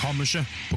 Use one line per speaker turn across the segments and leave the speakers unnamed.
Kammerset på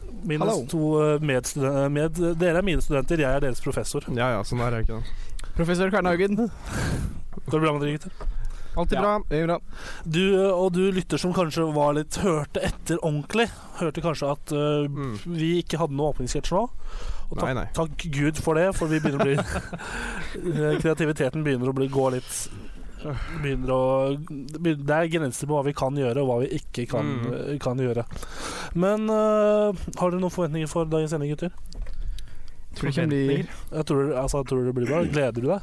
Mine
Hallo.
to eh, medstuden- med, dere er mine studenter, jeg er deres professor.
Ja ja, sånn er det ikke det.
Professor Kvernhaugen.
Går det bra med dere, gutter?
Alltid
Ja.
bra. Det bra.
Du, eh, og du lytter som kanskje var litt hørte etter ordentlig. Hørte kanskje at eh,
Mm.
vi ikke hadde noen åpningssketsj nå. Og takk,
Nei, nei.
takk Gud for det, for vi begynner å bli eh, Kreativiteten begynner å bli, gå litt begynner å, begyn- Det er grenser på hva vi kan gjøre, og hva vi ikke kan,
Mm.
eh, kan gjøre. Men eh, har dere noen forventninger for dagens sending, gutter?
Tror det kan bli
Jeg tror, altså, tror det blir bra. Gleder du deg?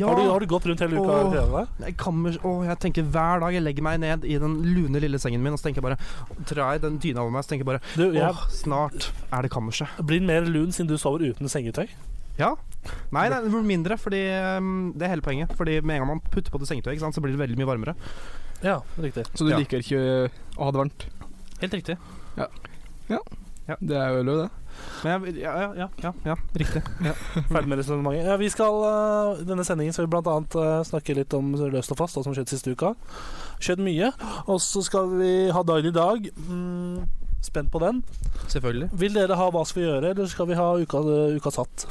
Ja!
Har, du, har du gått rundt hele uka og
Åh.
gledet deg?
Nei, kammer, åh, jeg tenker hver dag jeg legger meg ned i den lune lille sengen min og så tenker jeg bare Drar jeg den dyna over meg så tenker jeg bare
Du,
Åh,
jeg
snart er det kammerset.
blir mer lun siden du sover uten sengetøy.
Ja. Nei, nei, det blir mindre, fordi ehm, Det er hele poenget. Fordi med en gang man putter på det sengetøyet, ikke sant, så blir det veldig mye varmere.
Ja, riktig.
Så du
Ja.
liker ikke eh, å ha det varmt?
Helt riktig.
Det er jo lov, det.
Men jeg, ja, ja, ja, ja, ja, riktig.
Ferdig med resonnementet. Ja, vi skal, eh, I denne sendingen skal vi bl.a. Uh, snakke litt om løst og fast, hva som skjedde siste uka. Skjedd mye. Og så skal vi ha dagen i dag. Mm, spent på den.
Selvfølgelig.
Vil dere ha Hva skal vi gjøre, eller skal vi ha Uka, uka satt?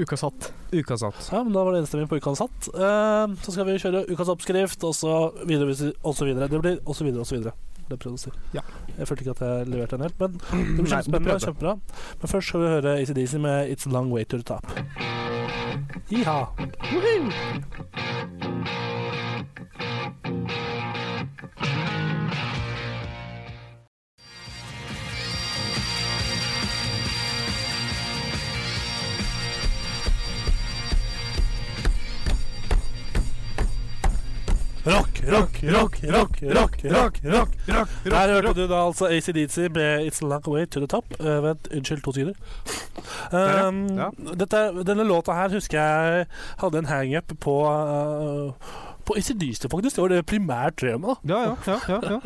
Uka satt.
Uka satt.
Ja, men Da var det enstemmig på Uka satt. Eh, så skal vi kjøre Ukas oppskrift, og så videre, hvis vi- og så videre. Det blir og så videre, og så videre. Det prøvde jeg å si.
Ja.
Jeg følte ikke at jeg leverte den helt, men det blir
Nei, du
kjempespennende.
prøvde.
Kjempebra. Men først skal vi høre ACDC med It's a Long Way to the Top. Iha. Rock, rock, rock, rock, rock, rock, rock. Her hørte du da altså ACDC med It's a Long Way to the Top. Eh, vent, unnskyld, to sekunder. Um,
ja.
dette- Denne låta her husker jeg hadde en hangup på eh, På ACDC, faktisk. Det var det primært temaet
Ja, ja, ja. ja, ja.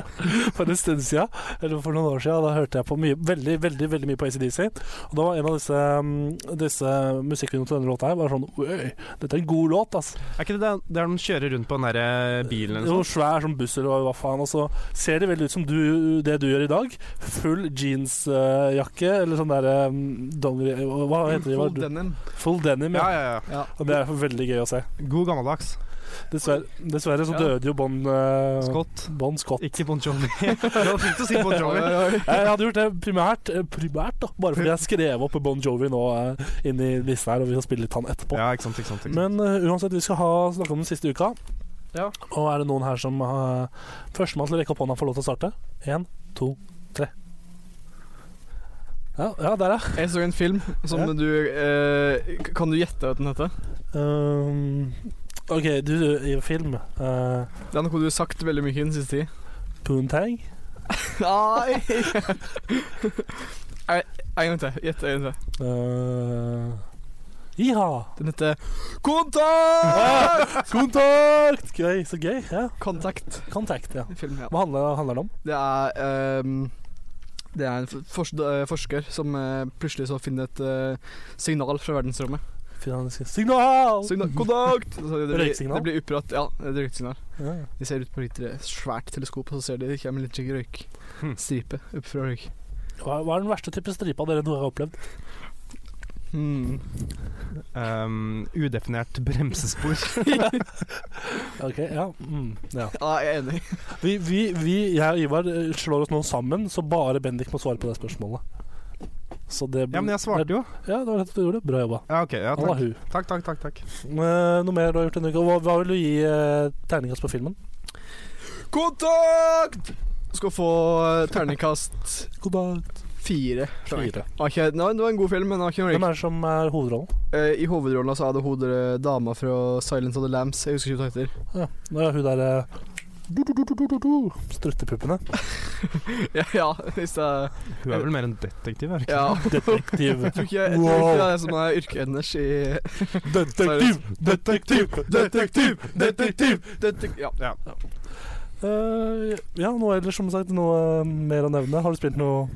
for en stund siden, eller for noen år siden, da hørte jeg på mye, veldig, veldig veldig mye på ACDC. Og da var en av disse, mm, disse musikkvideoene til denne låta her var sånn Oi, dette er en god låt, ass.
Er ikke det der, der de kjører rundt på den derre bilen eller noe
Jo, svær som buss eller hva- hva faen. Og så ser det veldig ut som du, det du gjør i dag. Full jeansjakke, eller sånn derre dongeri... Hva heter det? Hva,
Full denim.
full denim, ja.
Ja, ja, ja.
Ja.
Og det er veldig gøy å se.
God gammeldags.
Dessverre, dessverre så
Ja.
døde jo Bon eh,
Scott.
Bon Scott.
Ikke Bon Jovi. Det var fint å si Bon
Oi,
Jovi.
oi, oi.
Jeg hadde gjort det primært, eh, primært da, bare fordi jeg skrev opp Bon Jovi nå eh, inn i listen her, og vi skal spille litt han etterpå.
Ja, ikke sant, ikke sant. Ikke sant.
Men eh, uansett, vi skal ha, snakke om den siste uka.
Ja.
Og er det noen her som uh, Førstemann til å rekke opp hånda får lov til å starte. Én, to, tre. Ja, ja der, ja.
Jeg så en film som
Ja.
du eh, k- Kan du gjette hva den heter?
Um, OK, du i film. Uh,
Det er noe du har sagt veldig mye i den siste tid.
Poontang.
Nei! Nei, En gang til. Gjett en gang til.
Uh, Iha!
Den heter
Ah!
Kontakt!
Kontakt! Gøy, så gøy. Ja.
Kontakt.
Kontakt, ja.
Film, ja.
Hva handler, handler det om?
Det er ehm, Det er en f- fors eh, forsker som eh, plutselig så finner et eh, signal fra verdensrommet.
Finansisk signal!
Signal kontakt! Så det, blir,
Mm. Røyksignal?
det blir utbrakt. Ja, et røyksignal.
Ja.
De ser ut på et lite svært teleskop, og så ser de det kommer en liten røyk.
Hmm.
Hm.
Stripe opp fra røyk.
Hva, hva er den verste type stripa dere noen gang har opplevd?
Mm.
Um, udefinert bremsespor.
Ok, ja. Mm, ja.
Ja, jeg er enig.
Vi, vi, vi, jeg og Ivar eh, slår oss nå sammen, så bare Bendik må svare på det spørsmålet. Så det
Ja, men jeg svarte jo.
Ja, det var rett at du gjorde det. Bra jobba.
Ja, ok. Ja, takk.
Allahu.
Takk, takk, takk, takk.
Eh, noe mer du har gjort denne uka? Hva, hva vil du gi eh, terningkast på filmen?
Kontakt! Skal få eh, terningkast
God dag.
fire. fra meg.
Fire.
Har ikke- Nei, det var en god film, men har ikke noe
Hvem er det som er hovedrollen?
Eh, I hovedrollen altså, er det hodet dama fra 'Silence of the Lambs'. Jeg husker ikke hva hun heter.
Ja, det er hun eh, derre Struttepuppene.
ja, ja, hvis det er
Hun er vel mer en detektiv, er hun ikke?
Ja.
Detektiv.
Jeg tror ikke, jeg tror
Wow.
ikke det er det som er yrket hennes i
Detektiv! Detektiv! Detektiv! Detektiv!
Detek- Ja.
Eh, ja, noe ellers, som sagt. Noe eh, mer å nevne? Har du spilt noe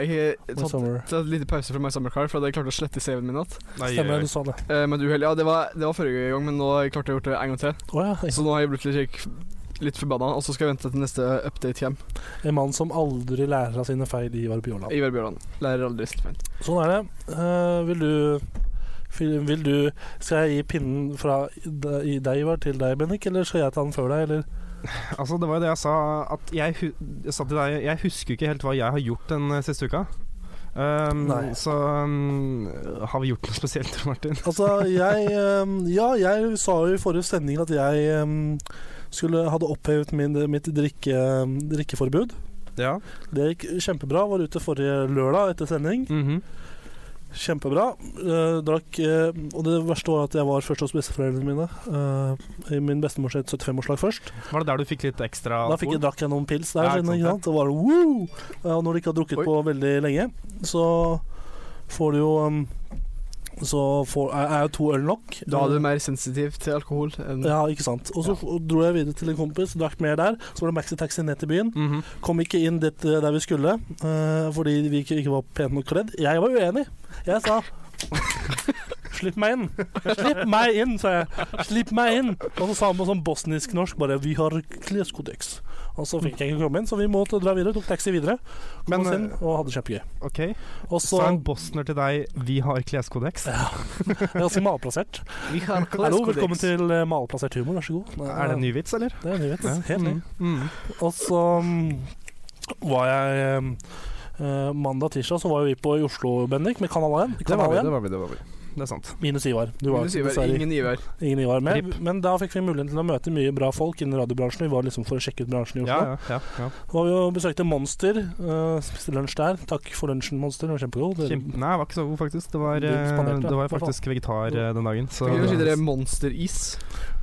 Jeg har
i
tatt
sommer?
tatt en liten pause fra My Summer Car, for jeg klarte å slette CV-en min igjen.
Nei,
Stemmer, du sa det.
Eh, med et uhell. Ja, det var, det var forrige gang, men nå har jeg klart å gjort det en gang til.
Å ja.
Så nå har jeg blitt litt, litt forbanna, og så skal jeg vente til neste update hjem.
En mann som aldri lærer av sine feil, Ivar Bjørland.
Ivar Bjørland. Lærer aldri sitt feil.
Sånn er det. Eh, vil du fil- vil du, Skal jeg gi pinnen fra de- i deg, Ivar, til deg, Bennik, eller skal jeg ta den før deg? Eller?
Altså, det var jo det jeg sa at jeg, hu jeg sa til deg Jeg husker ikke helt hva jeg har gjort den eh, siste uka. Um,
Nei.
Så um, har vi gjort noe spesielt, Martin?
Altså, jeg eh, Ja, jeg sa jo i forrige sending at jeg eh, skulle, hadde opphevet min, mitt drikke, drikkeforbud.
Ja.
Det gikk kjempebra. Var ute forrige lørdag etter sending.
Mhm.
Kjempebra. Eh, drakk eh, Og det verste var at jeg var først hos besteforeldrene mine. Eh, i min bestemors 75-årsdag først.
Var det der du fikk litt ekstra
Da fikk jeg, drakk jeg noen pils der,
Ja, ikke
siden,
sant,
ikke
ja.
sant? Det var, woo! Eh, Og når du ikke har drukket
Oi.
på veldig lenge, så får du jo um, Så får, er er jo to øl nok.
Da er du mer sensitiv til alkohol enn
Mm. Ja, ikke sant. Og så f- dro jeg videre til en kompis, drakk mer der. Så var det maxi taxi ned til byen.
Mhm.
Kom ikke inn dit eh, der vi skulle, eh, fordi vi ikke, ikke var pent nok kledd. Jeg var uenig. Jeg sa Slipp meg inn! Slipp meg inn, sa jeg. Slipp meg inn! Og så sa han på sånn bosnisk-norsk bare 'Vi har kleskodeks'. Og så fikk jeg ikke komme inn, så vi måtte dra videre. Tok taxi videre. Kom
Men, eh,
oss inn og hadde det kjempegøy.
Ok,
Og
så
så
en bosner til deg Vi har kleskodeks.
Ganske malplassert.
Vi har
Hallo, velkommen til eh, malplassert humor, vær så god.
Er det en ny vits, eller?
Det er en nyhet. Helt ny.
Mm. Mm.
Og så mm, var jeg eh, Mandag-tirsdag så var jo vi på i Oslo, Bendik, med Kanal 1.
Det var
Kanal
vi,
1.
det var vi. Det var vi. Det er sant.
Minus Ivar. Du var
Ingen Ivar.
dessverre
Ingen Ivar.
ingen Ivar med.
Rip.
Men da fikk vi muligheten til å møte mye bra folk innen radiobransjen. Vi var liksom for å sjekke ut bransjen i
Ja,
Oslo.
ja, ja, ja.
Da var vi og besøkte Monster. eh, spiste lunsj der. Takk for lunsjen, Monster. Den var kjempegod. Det-
Kjempe... Nei, jeg var ikke så god, faktisk. Det var,
Du spanderte,
eh, det var
hva faen?
faktisk vegetar eh, den dagen. Så
Fikk du si dere monsteris?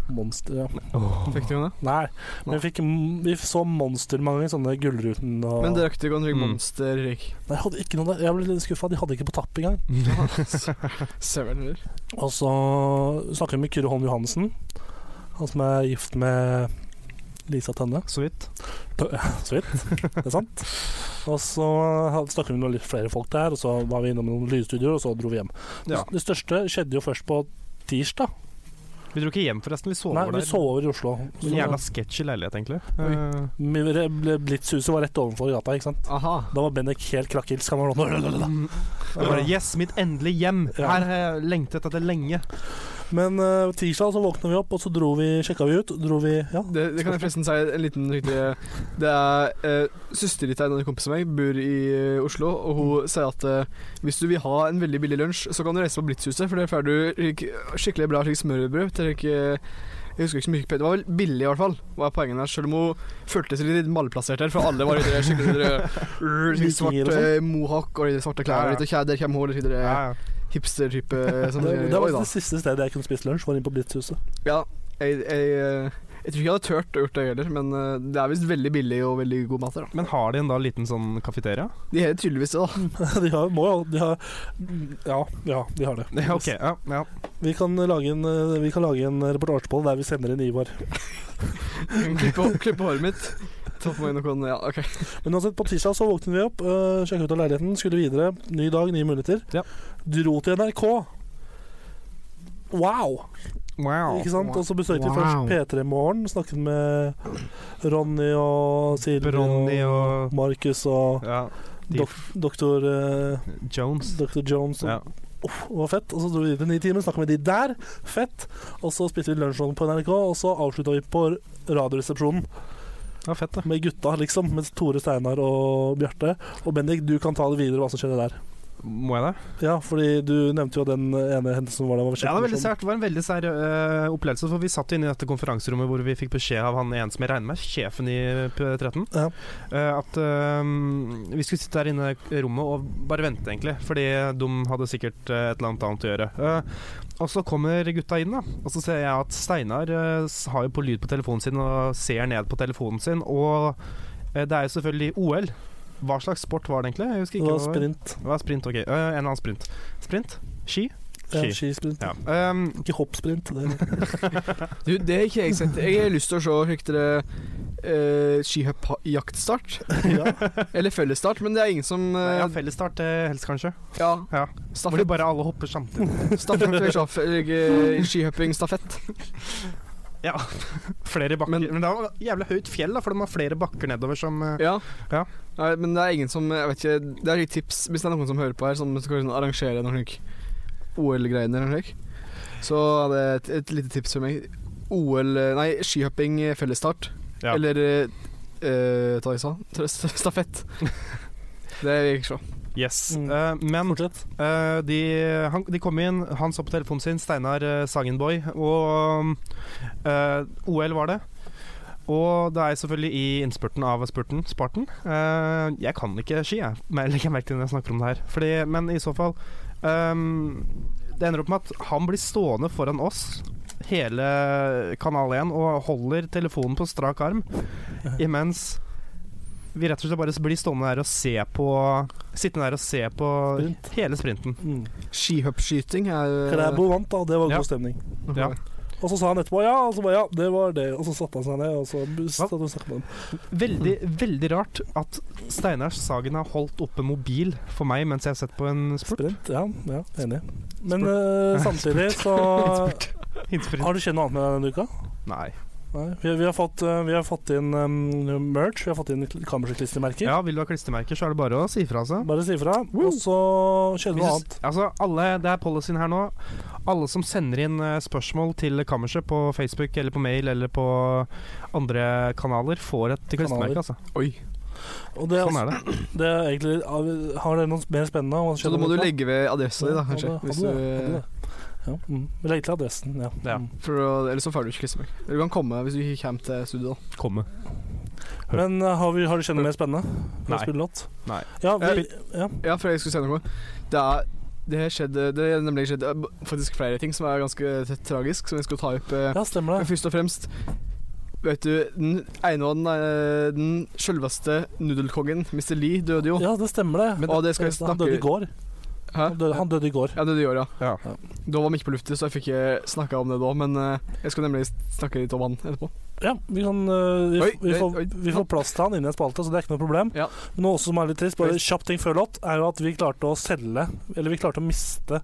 Monster, ja.
Åh.
Fikk dere det?
Nei, men vi, fikk, m- vi så Monster mange sånne Gullruten og
Men dere rakk ikke å drikke
Mm.
monster, Erik?
Nei, jeg hadde ikke noe der. Jeg ble litt skuffa. De hadde ikke på tapp engang.
Søren heller.
Og så snakker vi med Kyrre Holm Johansen, han som er gift med Lisa Tønne.
Så vidt.
Så vidt, det er sant. Og så had- snakket vi med litt flere folk der, og så var vi innom noen lydstudioer, og så dro vi hjem.
Ja.
Det største skjedde jo først på tirsdag.
Vi dro ikke hjem, forresten. Vi sov
Nei,
over
vi
der.
sov over i Oslo. Så
En jævla sketchy leilighet, egentlig. Eh,
vi- re- ble- Blitzhuset var rett overfor gata, ikke sant.
Aha.
Da var Bendik helt krakkhils. Han var sånn
Jeg bare Yes, mitt endelige hjem!
Ja.
Her har jeg lengtet etter lenge.
Men eh, tirsdag så våkna vi opp, og så dro vi, sjekka vi ut. og Dro vi Ja,
Det, det kan jeg forresten si en liten riktig Det er eh, søsteren til en av de kompisene meg bor i eh, Oslo, og hun
Mm.
sier at eh, hvis du vil ha en veldig billig lunsj, så kan du reise på Blitzhuset, for der får du rik- skikkelig bra slik smørbrød til rik- eh, jeg husker ikke så mye penger. Det var vel billig, i hvert fall. Var poenget der, Selv om hun følte seg litt malplassert her, for alle var i det skikkelig det rrr, slik
Vikinger og sånn.
svart eh, mohawk og de svarte
Ja, ja.
klærne. Ja, Der kommer hun, litt
Ja,
videre
ja.
hipster-type.
det,
sånn,
det
eh,
var
oi da.
det siste stedet jeg kunne spist lunsj, var inne på Blitzhuset.
Ja, jeg, jeg, eh, jeg tror ikke jeg hadde turt å gjort det heller, men eh, det er visst veldig billig og veldig god mat her, da.
Men har de en da liten sånn kafeteria?
De har tydeligvis det, da.
De har, må jo de har, ja, ja, de har det.
Ja, ok. Ja, ja.
Vi kan lage en, eh, vi kan lage en reportasje på det der vi sender inn Ivar.
Klippe, klippe håret mitt. Ta på meg noen Ja, OK.
Men uansett, på tirsdag så våknet vi opp, uh, sjekket ut av leiligheten, skulle videre. Ny dag, nye muligheter.
Ja.
Dro til NRK. Wow!
Wow.
Ikke sant? Og så besøkte vi
Wow.
først P3 Morgen, snakket med Ronny og Silje
Bronny og
Markus og
ja,
dok doktor, eh,
Jones.
doktor Jones og
Ja.
Uff, det var fett. Og så dro vi dit i ni timer, snakka med de der. Fett. Og så spiste vi lunsjrollen på NRK, og så avslutta vi på Radioresepsjonen
Ja, fett, det.
med gutta, liksom. Mens Tore Steinar og Bjarte. Og Bendik, du kan ta det videre, hva som skjedde der.
Må jeg det?
Ja, fordi du nevnte jo den ene hendelsen som var der. Var
Ja, det var, veldig
kjempemorsom.
sært. det var en veldig sær øh, opplevelse. For vi satt jo inne i dette konferanserommet hvor vi fikk beskjed av han en som jeg regner med, er sjefen i P13,
Ja.
øh, at øh, vi skulle sitte der inne i rommet og bare vente, egentlig. Fordi de hadde sikkert øh, et eller annet annet å gjøre. Eh, og så kommer gutta inn, da. Og så ser jeg at Steinar øh, s- har jo på lyd på telefonen sin og ser ned på telefonen sin. Og eh, det er jo selvfølgelig OL. Hva slags sport var det egentlig? Jeg
Det
husker ikke.
var
hva det var.
sprint.
Det var sprint, ok. Eh, en eller annen sprint. Sprint? Ski?
Ja,
Ski.
skisprint.
Ja. Ehm,
Ikke hoppsprint. Det.
Du, det har ikke jeg sett. Jeg har lyst til å se hva dere eh, skihoppjaktstart.
Ja.
Eller fellesstart, men det er ingen som
Nei,
eh,
ja, fellesstart eh, helst, kanskje.
Ja.
Ja. Hvor det
Stafett.
bare alle hopper samtidig.
Stafett eller sjaf- eller, eh, skihoppingstafett.
Ja, flere bakker. Men,
Men-
det er jo jævlig høyt fjell, da, for de har flere bakker nedover som eh,
Ja.
Ja.
Nei, men det er ingen som Jeg vet ikke Det er litt tips hvis det er noen som hører på her, som skal sånn arrangere noen slik OL-greier eller noe slikt. Så er det et, et lite tips for meg. OL Nei, skihopping eh, fellesstart.
Ja.
Eller uh, hva jeg sa Trøst, stafett. Det vil jeg ikke se.
Yes.
Mm.
Eh, men
Fortsett.
eh, de, han, de kom inn, han så på telefonen sin, Steinar eh, Sagenboy, og eh, OL var det. Og det er selvfølgelig i innspurten av spurten, Sparten. Eh, jeg kan ikke ski, jeg. Men jeg legger merke til når jeg snakker om det her. Fordi, men i så fall ehm, Det ender opp med at han blir stående foran oss, hele Kanal 1, og holder telefonen på strak arm imens vi rett og slett bare blir stående der og se på Sittende der og se på
Sprint.
hele sprinten.
Mm.
Skihoppskyting er eh,
Klæbo vant, da. Det var
Ja.
god stemning.
Noe
Ja.
av det.
Og så sa han etterpå ja, og så bare ja, det var det. Og så satte han seg ned, og så satt han og snakket med dem.
Veldig, veldig rart at Steinar Sagen har holdt oppe mobil for meg mens jeg har sett på en spurt.
Sprint. Ja, ja enig. Men eh, samtidig så
Innsprint.
Har du kjent noe annet med deg denne uka?
Nei.
Nei. Vi, vi, har fått, eh, vi har fått inn um, merch. Vi har fått inn kammerset-klistremerker.
Ja, vil du ha klistremerker, så er det bare å si ifra seg.
Bare si ifra.
Woo!
Og så skjedde noe annet.
Altså, alle, det er policyen her nå. Alle som sender inn eh, spørsmål til kammerset på Facebook eller på mail eller på andre kanaler, får et klistremerke, altså.
Oi.
Og det, er
Sånn er det.
også- det er egentlig Har dere noe mer spennende? Hva
Så
skjedde
da må du
denne uka?
legge ved adressa di, da, kanskje.
Ja, hadde-
Hvis
hadde
du,
det, hadde det. Ja. Mm. Legg til adressen, ja.
Ja.
Mm.
for å, eller så får du ikke klistremerke. Eller du kan komme hvis du ikke kommer til studio. da.
Komme.
Men eh, har, vi, har du kjent noe mer spennende? Kan
Nei.
vi spille låt?
Nei.
Ja,
Eh,
vi, ja.
Ja, for jeg skulle si noe. Det er det har skjedd Det har nemlig skjedd eh, faktisk flere ting som er ganske t- tragisk, som jeg skal ta opp. eh.
ja, stemmer
Men
det.
først og fremst Vet du, den ene og den, eh, den selveste nudelkongen, Mr. Lee, døde jo.
Ja, det stemmer det.
og det skal jeg
han døde i
snakke
går.
Hæ?
Han døde, han døde i går.
Ja, døde i år, ja.
Ja.
Da var vi ikke på luftet, så jeg fikk ikke snakka om det da. Men eh, jeg skal nemlig snakke litt om han etterpå.
Ja, vi, kan, eh, vi,
Oi,
vi,
oi,
får,
oi.
vi får plass til han inni en spalte, så det er ikke noe problem.
Ja.
Men noe også som er litt trist, bare kjapp ting før låt, er jo at vi klarte å selge Eller vi klarte å miste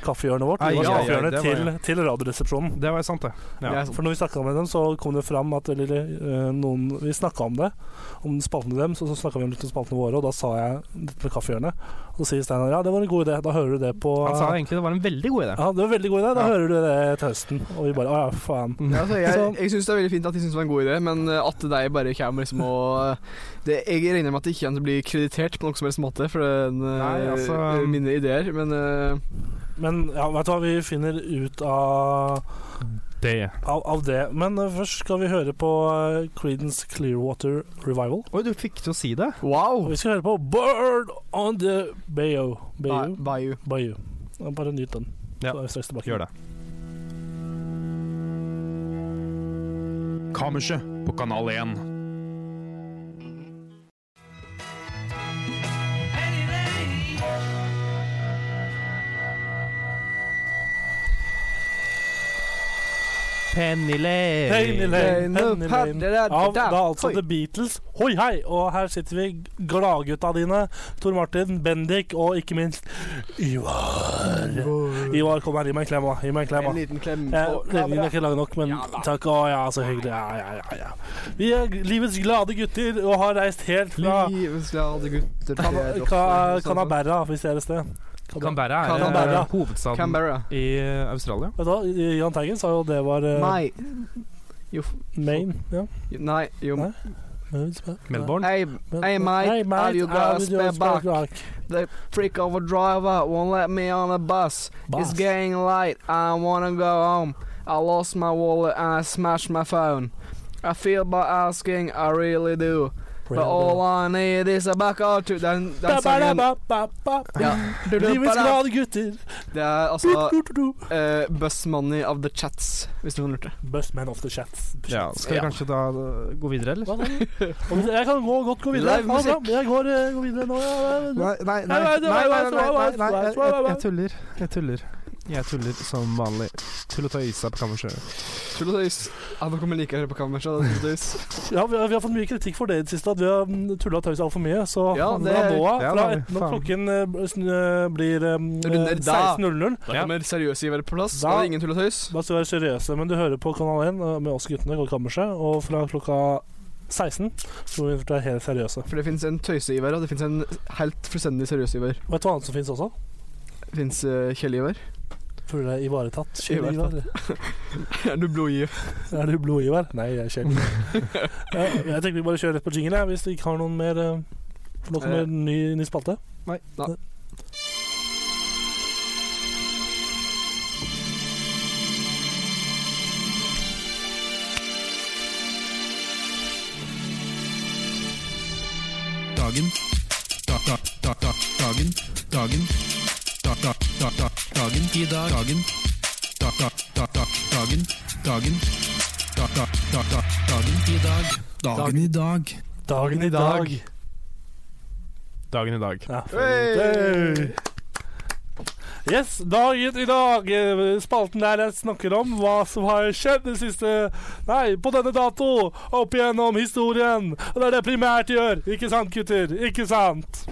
kaffehjørnet vårt.
Ai,
Vi var
ai, ai,
kaffehjørnet
det var
til, til Radioresepsjonen.
Det var sant, det. Ja.
Jeg er sånn.
For når vi snakka med dem, så kom det fram at eller, eh, noen, Vi snakka om det, om spaltene dem, så, så snakka vi om litt om spaltene våre, og da sa jeg dette med kaffehjørnet. Og så sier Steinar ja, det var en god idé, da hører du det på
Han sa egentlig det var en veldig god idé.
Ja, det var en veldig god idé, da
Ja.
hører du det til høsten. Og vi bare å ja, faen.
Ja, altså, jeg jeg syns det er veldig fint at de syns det var en god idé, men eh, at de bare kommer liksom og det, Jeg regner med at de ikke kommer til å bli kreditert på noen som helst måte for den, eh,
Nei, altså,
mine ideer, men eh,
Men ja, vet du hva, vi finner ut av,
Det.
av, av det. Men eh, først skal vi høre på eh, Creedence Clearwater Revival.
Oi, du fikk til å si det.
wow!
Og vi skal høre på Bird on the Bayou. Bayou?
Ba- Bayou.
Bayou. Ja, Bare nyt den.
Ja.
Så er vi straks tilbake.
Gjør det.
Kammerset på Kanal 1.
Penny Lane.
Penny Lane,
Hey, no,
Penny
pa-
Lane.
det der-
Av
det der.
da altså
Oi.
The Beatles. Hoi hei! Og her sitter vi, gladgutta dine. Tor Martin, Bendik og ikke minst Ivar. Ivar, kom her, gi meg en klem, da. Gi meg en klem, da.
En liten klem
Eh,
på
Ledningen er
kamera.
ikke lang nok, men
Ja da.
takk. Å ja, så hyggelig. Ja, ja, ja, ja. Vi er livets glade gutter og har reist helt fra
Livets glade gutter sånn,
sånn
Cana- Ca- Canberra, hvis det er et sted.
Canberra er
Canberra.
eh, hovedstaden
Canberra.
i eh, Australia.
Vet du hva, Jahn Teigen sa jo det var eh,
Nei. Jo, f-
Maine. Ja.
nei, jo.
Nei.
Melbourne.
Hey,
Men-
hey mate,
Hey, mate,
have you got a
have you
spare
got
buck? The freak of a driver won't let me on a bus.
Bus.
It's getting late. I wanna go home. I lost my wallet and I smashed my phone. I feel by asking, I really do. But all I need is a buck or two. Den, den sangen
Ba-ba-da-ba-ba-ba.
ja.
Livets glade gutter.
Det er altså eh, Bus Money of the Chats, hvis noen lurte.
Bustman of the chats.
Ja, skal vi
Ja.
kanskje da eh, gå videre, eller?
Hva da? Og hvis- Jeg kan gå, godt gå videre.
Live
Ha det bra.
musikk.
Jeg går, eh, går videre nå. ja, ja, ja.
Nei, nei,
Nei,
nei,
nei,
nei, nei, nei,
nei,
nei,
nei,
jeg,
nei,
jeg,
nei.
jeg tuller. Jeg tuller. Jeg tuller som vanlig. Tull og tøys er på kammerset.
Tull og tøys. Ja, nå kommer jeg like å høre på kammerset. det er tull og tøys.
Ja, vi, har, vi har fått mye kritikk for det i det siste, at vi har mm, tulla og tøysa altfor mye. Så
Ja,
fra
det-
nå av,
Ja,
fra
da,
etter når
faen.
klokken eh, b- sn- eh, blir eh,
Runder da.
16.00
Da
Ja.
kommer seriøse givere på plass.
Da-
Da er det ingen tull og tøys.
Bare skal være seriøse, men du hører på Kanal 1 eh, med oss guttene, går kammerset, og fra klokka 16 så må vi være helt seriøse.
For det fins en tøysegiver, og det fins en helt fullstendig seriøs giver.
Vet du hva annet som fins også?
Det fins uh, Kjell-giver.
Føler du deg ivaretatt?
Ivaretatt.
Kjell-Ivar?
er du blodgiver?
Er du blodivar? Nei, jeg er kjell. Eh, jeg tenker vi bare kjører rett på jingle, jeg, hvis vi ikke har noen mer eh, For nå kommer
Eh.
ny, ny spalte.
Nei.
Nei.
Dagen. Da, da, da, da, dagen. Dagen. Da, da, da, da, dagen. I dag. Dagen. Da, da, da, da, dagen. Dagen. Da, da, da, da, dagen. I dag. Dagen i dag.
Dagen i dag.
Dagen i dag.
Ja,
Hey!
Hey! Yes, dagen i dag. eh, Spalten der jeg snakker om hva som har skjedd den siste Nei, på denne dato. Opp igjennom historien. Og det er det primært gjør. Ikke sant, gutter? Ikke sant?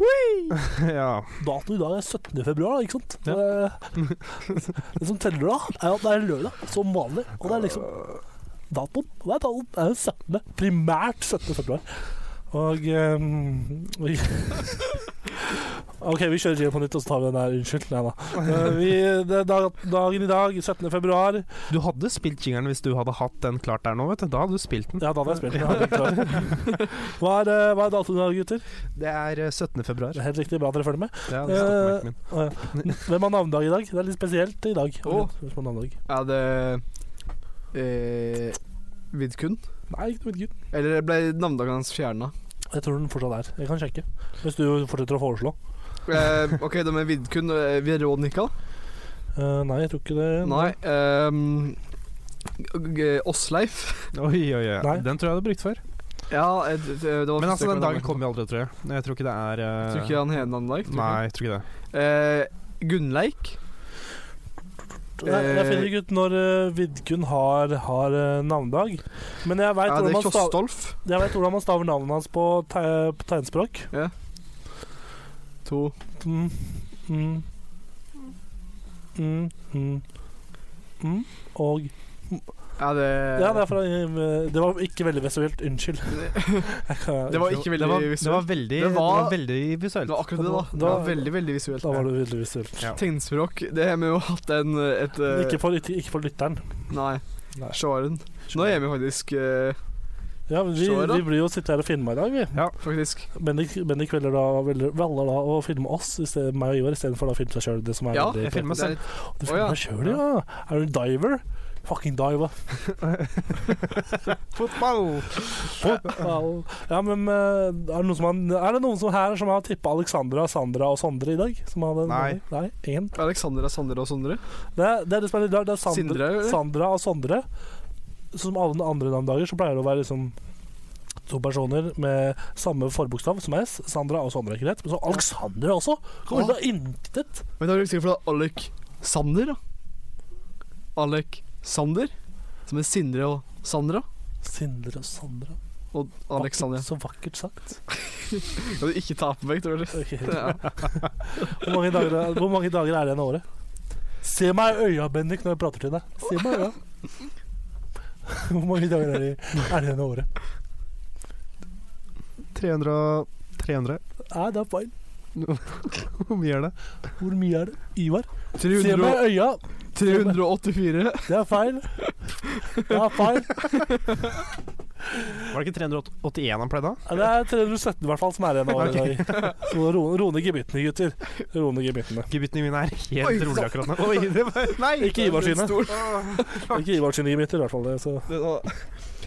ja.
Dato i dag er 17. februar, da, ikke sant?
Ja.
Det, det som teller da, er at det er lørdag, som vanlig. Og det er liksom datoen. Det er datoen. Det er den 17. Primært 17. februar. Og ehm, vi OK, vi kjører Gino på nytt, og så tar vi den der. Unnskyld. Nei da. Eh, vi, det er dag, dagen i dag, 17. februar.
Du hadde spilt jingeren hvis du hadde hatt den klart der nå, vet du. Da hadde du spilt den.
Ja, da hadde jeg spilt. den. Jeg hadde ikke klart. Hva er, eh, hva er datoen i dag, gutter?
Det er eh, 17. februar.
Det er helt riktig. Bra at dere følger med.
Ja, det er
Eh,
stoppemerken min.
Hvem har navnedag i dag? Det er litt spesielt i dag.
Å.
Hvem har navnedag?
Er det eh, Vidkun?
Nei, ikke noe gutt.
Eller ble navnedagen hans fjerna?
Jeg tror den fortsatt er. Jeg kan sjekke. Hvis du fortsetter å foreslå.
Eh, OK, de er Vidkun. eh, Veronica?
Eh, nei, jeg tror ikke det.
Nei. ehm, g- Åsleif?
Oi, oi, oi.
Nei.
Den tror jeg jeg hadde brukt før.
Ja, eh, d- eh, det var
Men altså, den dagen
kom
kommer jo aldri, tror jeg. Jeg tror ikke det er eh,
Tror ikke han har navnedag. tror
Nei, jeg tror ikke det.
ikke. Eh, Gunnleik?
Nei, jeg finner ikke ut når eh, Vidkun har, har eh, navnedag. Men jeg veit
Er det
hvordan, man stav-
Kjostolf?
jeg vet hvordan man staver navnet hans på, te på tegnspråk.
To.
Mm. Mm. Mm. Mm. Mm. Og
Er det
Ja, det, er fra, eh, det var ikke veldig visuelt. Unnskyld. Jeg kan-
Det var ikke veldig
det var, Det
visuelt.
var veldig,
Det
det
var-
var, veldig
Det
visuelt.
var akkurat det, da. Det
Da-
var veldig, veldig visuelt.
Da var det veldig visuelt.
Ja.
Tegnspråk, det har vi jo hatt en et, eh,
Ikke for, ikke, ikke for lytteren.
Nei,
Nei.
sjåren. Nå er vi faktisk eh,
Ja, men vi,
Så er det.
vi blir jo sitte her og filme i dag, vi.
Faktisk.
Bendik, Bendik velger da, velger, velger da å filme oss, i stedet, meg og Ivar, istedenfor å filme seg sjøl.
Ja,
Jeg filmer
Det er
selv.
litt-
Du
Å, ja.
filmer deg selv, ja. Er du en diver? Fucking diver.
Fotball!
Fotball. Ja, men eh, er det noen, som har, er det noen som her som har tippa Alexandra, Sandra og Sondre i dag? Som hadde,
Nei.
Nei, ingen.
Alexander er Sander og Sondre.
Det, er- det er det som er litt rart. Det er Sandra,
Sindre, eller?
Sandra og Sondre. Som alle andre navnedager så pleier det å være liksom to personer med samme forbokstav som S. Sandra og Sondre, ikke rett? Men så Alexandra også! Kommer ut av intet.
Men da er det sikkert fordi Alec Sander, da. Alec Sander, som er Sindre og Sandra.
Sindre og Sandra.
Og Alexandra.
Vakkert, så vakkert sagt.
Kan du ikke ta på meg, tror du?
Ok.
Ja.
Hvor, mange dager, er- hvor mange dager er det igjen av året? Se meg i øya, Bendik, når jeg prater til deg. Se meg i øya. Hvor mange dager er det, er det igjen av året?
300 300.
Nei, det er feil.
Hvor mye er det?
Hvor mye er det? Ivar? Se
300,
meg i øya!
384.
Det er feil. Det er feil.
Var det ikke 381 han pleide å ha?
Ja, Det er 317 i hvert fall som er igjen av året i dag. Så ro, ro ned gebyttene, gutter. Ro ned gebyttene.
Gebyttene mine er helt
Oi,
rolig akkurat nå. Oi, det var, nei!
Ikke Ivar sine.
Stol.
Ikke Ivar sine gebytter, i hvert fall. Det, så.
Det er-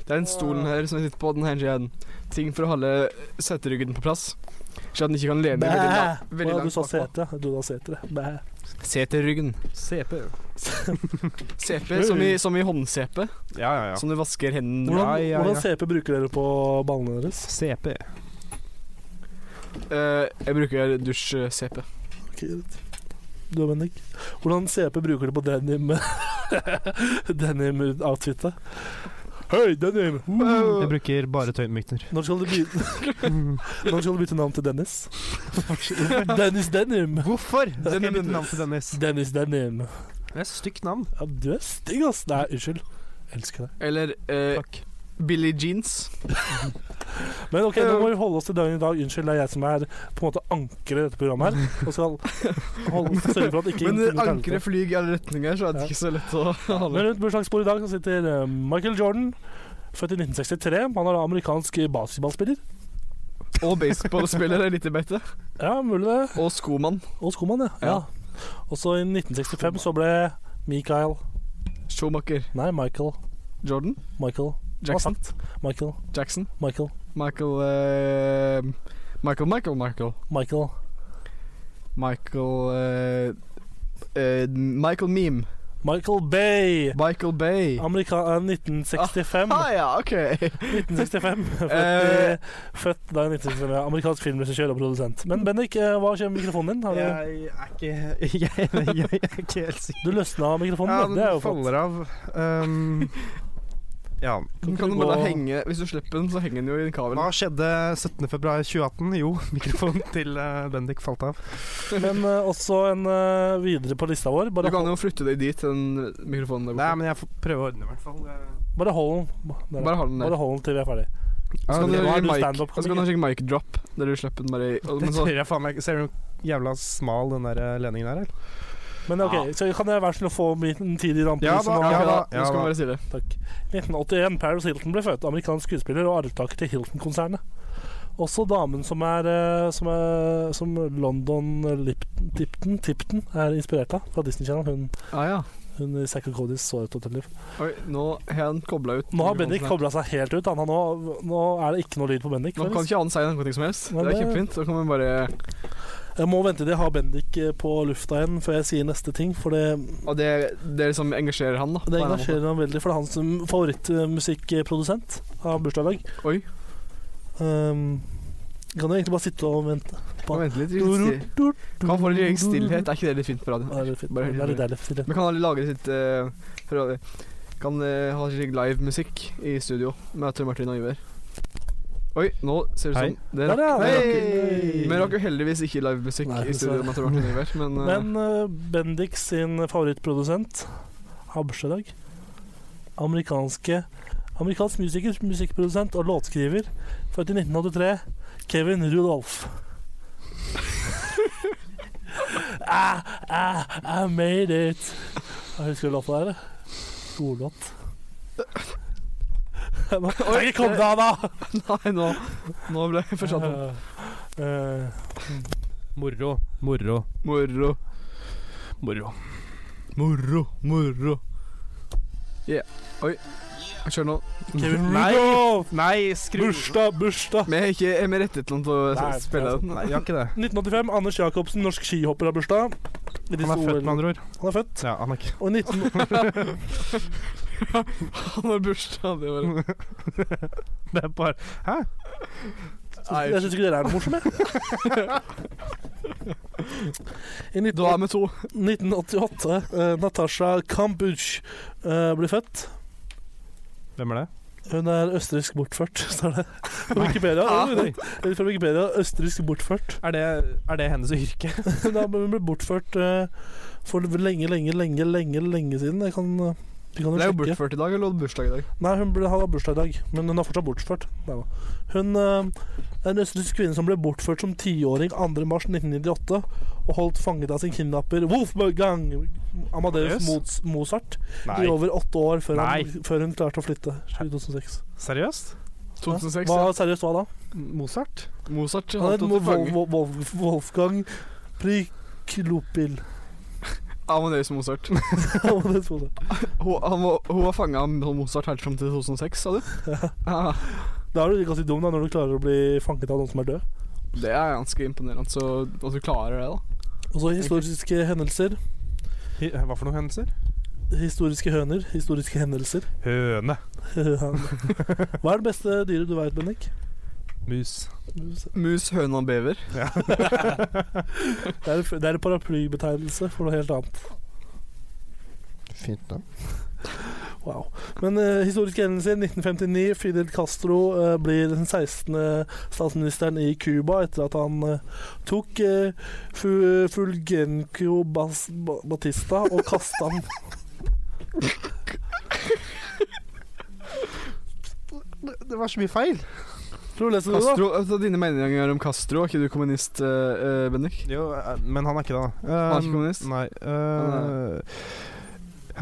det er den stolen her som jeg sitter på, den her skjeden. Ting for å holde seteryggen på plass. Så at den ikke kan lene veldig, la- veldig
Å, Du
langt
sa
bakpå.
sete. Du da seter, det. Bæ.
Seterryggen.
CP.
CP som i, som i hånd-CP,
Ja, ja, ja.
som du vasker hendene
Hvordan,
Ja, ja, ja.
hvordan CP bruker dere på ballene deres?
CP.
Eh, Jeg bruker dusj-CP.
Ok, greit. Du og Bendik. Hvordan CP bruker dere på denim denim-outfitet? Hei, denim!
Jeg bruker bare tøymykner.
Når skal, du bytte, når skal du bytte navn til Dennis? Dennis Denim!
Hvorfor skal jeg bytte
Dennis.
navn til Dennis?
Dennis Denim.
Det er et stygt navn.
Ja, du er stygg, ass. Nei, unnskyld. Elsker deg.
Eller eh,
Takk.
Billy Jeans.
Men ok, nå må vi holde oss til dagen i dag. Unnskyld, det er jeg som er på en måte ankeret i dette programmet her. Og skal holde, sørge for at ikke
Men
ingenting
når
kan
ankeret
til.
flyr i alle retninger, så er det
Ja.
ikke så lett å
Men
holde.
rundt bursdagsbordet i dag så sitter eh, Michael Jordan, født i 1963. Han er da amerikansk basketballspiller.
Og baseballspiller er litt i beite.
Ja, mulig det.
Og skomann.
Og skomann, ja. ja. Og så i 1965 så ble Michael
Showmaker.
Nei, Michael.
Jordan.
Michael. Hva har jeg
Jackson.
sagt? Michael.
Jackson.
Michael.
Michael eh, Michael, Michael, Michael.
Michael.
Michael eh, eh, Michael Meme.
Michael Bay!
Michael Bay.
Amerika eh, 1965.
Ah ja, OK.
1965. Født,
Eh.
i- født da i 1965. ja. Amerikansk filmregissør og produsent. Men Bendik, eh, hva skjer med mikrofonen din? Har du,
Jeg er ikke Jeg, jeg er ikke helt sikker.
du løsna mikrofonen,
Ja,
da. det er jo
den
flott.
faller av. Um, ja.
Den
ikke
kan
du
du bare
gå-
henge Hvis du slipper den, så henger den jo i en kabel.
Hva skjedde 17.2.2018? Jo, mikrofonen til eh, Bendik falt av.
Men eh, også en eh, videre på lista vår.
Du
Bare,
kan jo flytte deg dit, den mikrofonen der
Nei,
borte.
men jeg får prøve å ordne i hvert fall.
hold- bare hold den. Der,
Bare hold den der.
Bare hold den til vi er ferdig.
Så kan du
nå er
legge
du
mic-
stand-up-komiker.
og så kan du legge mic drop, der du slipper den bare i og-
Det
men så-
tør jeg faen meg ikke. Ser du hvor jævla smal den der eh, ledningen er? eller?
Men ok, så kan jeg være snill å få min tid i rampen?
Ja
som
da,
Ja,
var-
da,
ja da,
nå skal
ja
man bare si det.
Takk. 1981. Paris Hilton ble født. Amerikansk skuespiller og arvtaker til Hilton-konsernet. Også damen som er, eh, som er Som London Lipton, Tipton, Tipton er inspirert av, fra Disney Channel. Hun,
Ah, ja.
hun i Zack og Codys såret hotellliv.
Oi, nå har han kobla ut.
Nå har Bendik
mikrofonen
kobla seg helt ut. Han har nå, nå er det ikke noe lyd på Bendik.
her. Nå kan
faktisk.
ikke han si noe som helst.
Nei,
Det er
det-
kjempefint. Da kan man bare
Jeg må vente til jeg har Bendik eh, på lufta igjen før jeg sier neste ting, for det,
Og det, det er liksom engasjerer han, da. på en
det
eller annen måte.
engasjerer ham veldig. For det er hans eh, favorittmusikkprodusent av bursdag i dag.
Oi,
Um, kan du egentlig bare sitte og vente?
må vente litt. litt stille. Kan han få litt stillhet? Er ikke det litt fint på
Ja, Det er
radioen?
litt fint.
Bare helt
Det er litt deilig. stillhet.
Vi kan ha- lage litt eh, for å- Kan eh, ha litt live musikk i studio med Tor Martin og Iver. Oi, nå ser det
Hei.
ut som Det
Der, ja.
rakk
Hei.
Vi rakk jo heldigvis ikke live musikk
Nei,
i studio med Tor Martin og Iver, men, eh,
Men eh, Bendik sin favorittprodusent har bursdag i dag. Amerikanske Amerikansk musiker, musikkprodusent og låtskriver. Født i 1983. Kevin Rudolf. I, I, Ah, I made it. Jeg husker du låta der? Godlåt.
Oi,
Ikke kom deg av, da!
Nei, nå, nå ble jeg forstått.
Eh, eh,
Moro, moro,
Moro.
moro.
Moro, moro. Yeah. Oi. Jeg kjører nå.
Kevin
Nei.
Rudolf!
Nei, skru
Bursdag, bursdag!
Men jeg er ikke jeg er med rettet til å
Nei,
spille den.
Nei, jeg har ikke det.
1985, Anders Jacobsen, norsk skihopper, har bursdag. I disse
Han er født,
OL
med andre ord.
Han er født.
Ja, han er ikke
Og i 19...
Han har bursdag. Det var
Det er bare
Nei,
Jeg syns ikke dere er noe morsomme. I 19...
Da er vi to.
1988, eh, Natasha Kampuch eh, blir født.
Hvem er det?
Hun er østerriksk bortført, står det. På Wikipedia. Hun er rett Fra Wikipedia østerriksk bortført.
Er det, er det hennes yrke?
Hun er- hun ble bortført eh, for lenge, lenge, lenge, lenge lenge siden. Jeg kan eh, Vi kan
Det er jo
jo sjekke.
bortført i dag, eller hadde bursdag i dag?
Nei, hun ble, hadde bursdag i dag, men hun er fortsatt bortført. Nei da. Hun eh, er en østerriksk kvinne som ble bortført som tiåring 2.3.1998 og holdt fanget av sin kidnapper Wolfgang Amadeus
Amadeus?
Moz- Mozart
Nei.
i over åtte år før hun,
Nei.
før hun klarte å flytte. i 2006.
Seriøst?
2006,
hva,
ja.
seriøst, hva da?
Mozart?
Mozart
Han
han
het
tok til
Wolf,
fange.
Wolf, Wolfgang Priklopil.
Amadeus Mozart.
Amadeus Mozart.
Hun, han var, hun var fanga av Mozart helt fram til 2006, sa du? Ah,
Da er du ganske dum da, når du klarer å bli fanget av noen som er død.
det er ganske imponerende så at du klarer det, da.
Og så historiske hendelser.
Hi- eh, Hva for noen hendelser?
Historiske høner. Historiske hendelser.
Høne.
Hva er det beste dyret du vet, Bennik?
Mus.
Det
Mus, høne og bever.
er, det er en paraplybetegnelse for noe helt annet.
Fint, da.
Wow. Men eh, historiske hendelser. 1959. Fidel Castro eh, blir den 16. statsministeren i Cuba etter at han eh, tok eh, Fu- Fulgencio Bas Ba- Batista og kasta han
Det, det var så mye feil.
Tror du leser det, da?
Castro, altså, dine meninger om Castro, er ikke du kommunist, uh, Bendik?
Jo, eh, men han er ikke det, da.
Han er ikke kommunist?
Nei. eh,
Han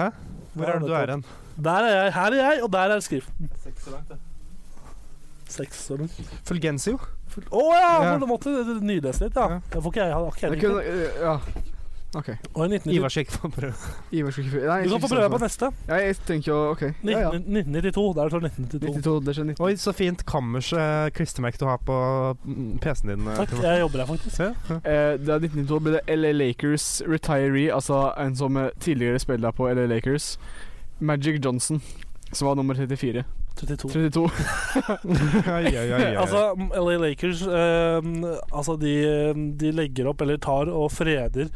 hæ? Hvor er det du er hen?
Der er jeg. Her er jeg, og der er skriften. Seks så langt, det.
Fulgencio?
Å ja!
Ja.
På den måten. Det er Nylest litt, ja.
Ja.
Det får ikke jeg, har ikke jeg
Jeg
likt
kunne, eh, ja. OK.
det. Og i 1992
Ivar Sjekk på prøve.
Ivar skal ikke få- Nei,
Du kan få prøve på neste.
Ja, jeg tenker jo OK. Ja, ja.
1992. Der står 1992.
92, det skjer 90.
Oi, så fint kammers eh, klistremerke du har på mm, PC-en din. eh,
Takk,
Trond.
jeg jobber her, faktisk.
Se, ja.
Eh, det er 1992 ble det LA Lakers retiree, altså en som eh, tidligere spilte på LA Lakers. Magic Johnson, som var nummer 34.
32.
32.
Ai, ai, ai, ai.
Altså, LA Lakers eh, Altså, de, de legger opp, eller tar og freder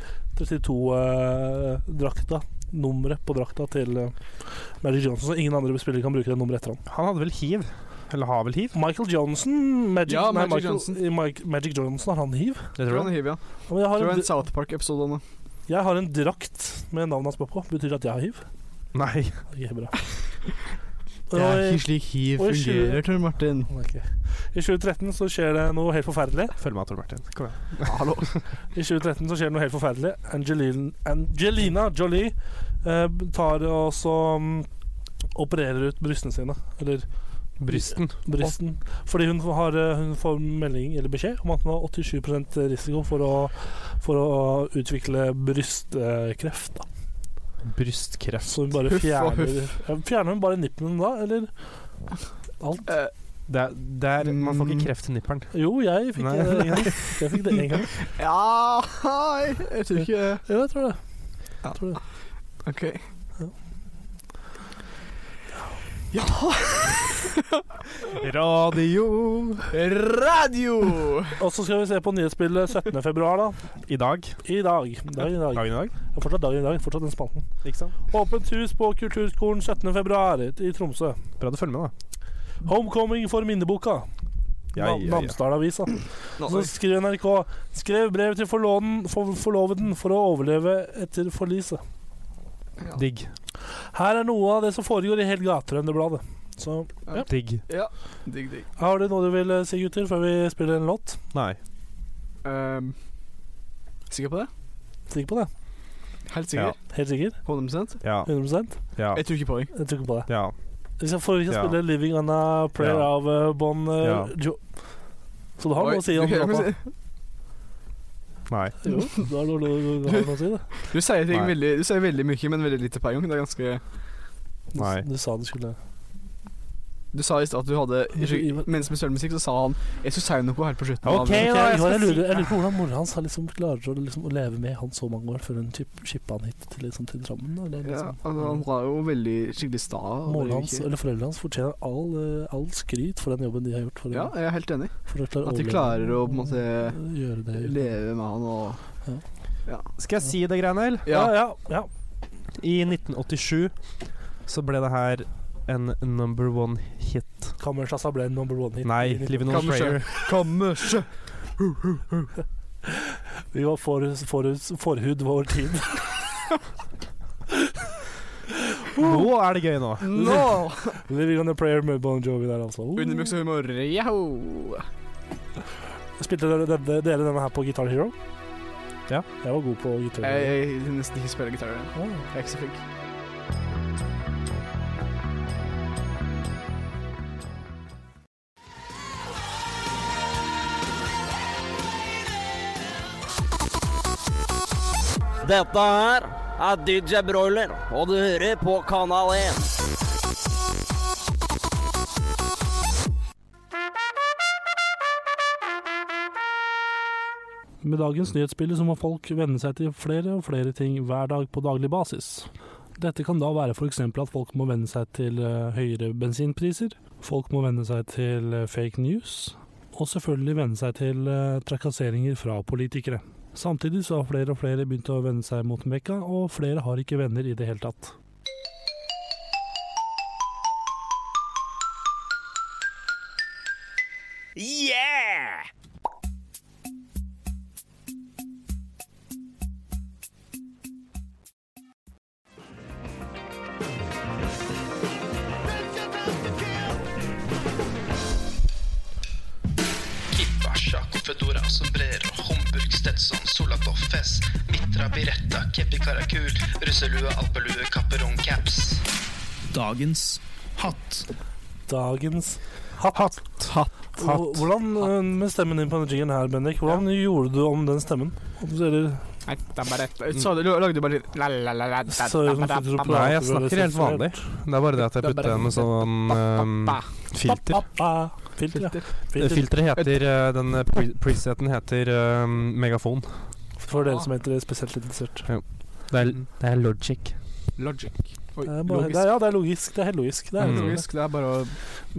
32-drakta. nummeret på drakta til eh, Magic Johnson, så ingen andre spillere kan bruke det nummeret etter han.
Han hadde vel hiv? Eller har vel hiv?
Michael Johnson Magic,
Ja, Magic
nei, Michael,
Johnson.
i Mike, Magic Johnson, har han hiv?
Det
Tror
tror
han
jeg.
er hiv, ja.
Ja, men jeg har,
Tror det er
en,
en South Park-episode om det.
dr- jeg har en drakt med navnet hans på. Betyr det at jeg har hiv?
Nei.
Ok, bra.
Det
Og
er
i,
ikke slik hiv
og i sju-
fungerer, Tor Martin.
Ok. I 2013 så skjer det noe helt forferdelig.
Følg med, Tor Martin. Kom igjen.
Hallo.
I 2013 så skjer det noe helt forferdelig. Angelina, Angelina Jolie eh, tar og så mm, opererer ut brystene sine. Eller
Brysten.
brysten. Fordi hun har eh, hun får melding eller beskjed om at hun har 87 risiko for å, for å utvikle brystkreft. Da.
Brystkreft.
Så hun bare
Huff og
fjerner
huff.
ja, Fjerner hun bare nippelen da, eller alt?
Eh,
Det er, det er, man får
Mm.
ikke kreft i nipperen.
Jo, jeg fikk
Nei.
det en gang. Jeg fikk det en gang.
ja hei. Jeg tror ikke
Jo, jeg tror det.
Ja.
Jeg tror det.
OK.
Radio
Radio!
Og så skal vi se på nyhetsbildet 17. februar, da.
I dag.
I dag. Dagen i dag.
Dagen i dag.
Ja, Fortsatt dagen i dag. Fortsatt den spalten.
Ikke sant?
Åpent hus på Kulturskolen 17. februar i Tromsø.
Bra du følger med, da.
Homecoming for minneboka.
Ja, ja, ja.
Namsdal-avisa. Så skriver NRK Skrev brev til forloven, for, forloveden for å overleve etter forliset.
Digg.
Her er noe av det som foregår i hele Gaterøndebladet. Så
Digg.
Digg, digg.
har du noe du vil eh, si, gutter, før vi spiller en låt?
Nei.
Ehm, sikker på det?
Sikker på det?
Helt sikker?
Helt sikker?
100
Ja.
100
Ja.
Jeg tror ikke på deg.
Jeg tror ikke på det.
ja.
Vi skal, for, vi skal
Ja.
spille 'Living On A Prayer'
Ja.
av eh, Bon eh,
Ja.
Jo... Så du har
Oi,
noe å si om
du-
låta?
Nei.
Jo, du har noe, du, du har noe å si, det.
Du sier, ting
Nei.
veldig, du sier veldig mye, men veldig lite per gang. Det er ganske
Du,
Nei.
du sa du skulle
Du sa i stad at du hadde
Ivar-
Mens vi spilte musikk, så sa han Jeg skulle si noe her på slutten. av
Ok,
Jeg,
da, jeg
jeg,
skal
lurer,
si-
jeg lurer på hvordan mora hans har liksom klarer å, liksom, å leve med han så mange år før hun shippa han hit til, liksom, til Drammen. da, Eller,
ja,
liksom.
altså, Han var jo veldig skikkelig sta. og
Moren
var
hans,
ikke-
eller Foreldrene hans fortjener all, eh, all skryt for den jobben de har gjort. For,
Ja, jeg er helt enig.
for å klare
At de
overleve- Eh,
klarer å på en måte
Gjøre det.
leve med han og
Skal jeg si det, Greinel?
Ja,
Ja.
ja. ja.
I 1987 så ble det her en number one hit.
Kammerslassa ble number one hit.
Nei, Living on a
Kammerset.
Prayer.
Kammerset!
Vi var for, for, forhud vår tid.
Nå er det gøy nå.
No!
Living on a prayer med Bon Jovi der, altså. Oh.
Underbuks og humor. Yaho!
Spilte dere denne, dere denne her på Guitar Hero?
Ja.
Jeg var god på Guitar
Jeg,
Hero.
jeg vil nesten ikke spiller gitar. Jeg
Ah.
er ikke så flink.
Dette her er DJ Broiler, og du hører på Kanal 1.
Med dagens nyhetsbilde så må folk venne seg til flere og flere ting hver dag på daglig basis. Dette kan da være f.eks. at folk må venne seg til eh, høyere bensinpriser, folk må venne seg til eh, fake news, og selvfølgelig venne seg til eh, trakasseringer fra politikere. Samtidig så har flere og flere begynt å vende seg mot Mekka, og flere har ikke venner i det hele tatt.
Kibasha, Confedora, Sombrero, Homburg, Stetson, Solaboff, Fess, Mitra, Biretta, Kepi Karakul, russelue, alpelue, kapperong, caps.
Dagens hatt.
Dagens hatt. Og Hvordan, eh, med stemmen din på denne jingen her, Bendik, hvordan gjorde du om den stemmen? Eller
Nei, det er bare rett. Så du lagde bare litt la, la, la, la, da,
Så er det sånn
da, da,
som sitter og
da,
plager.
Nei, jeg snakker helt vanlig. Det er bare det at jeg putter en sånn
Um,
ehm,
da.
filter.
Ah, filter, ja.
Filter.
Det
Filter.
Filteret heter eh, Den pre preseten heter ehm, megafon.
For dere som heter spesielt interessert.
Det er, det er logic.
Logic. Oi,
Det er bare, det
logisk.
er, ja, det er logisk. Det er helt logisk. Det er
Mm.
helt logisk.
Logisk, det er bare å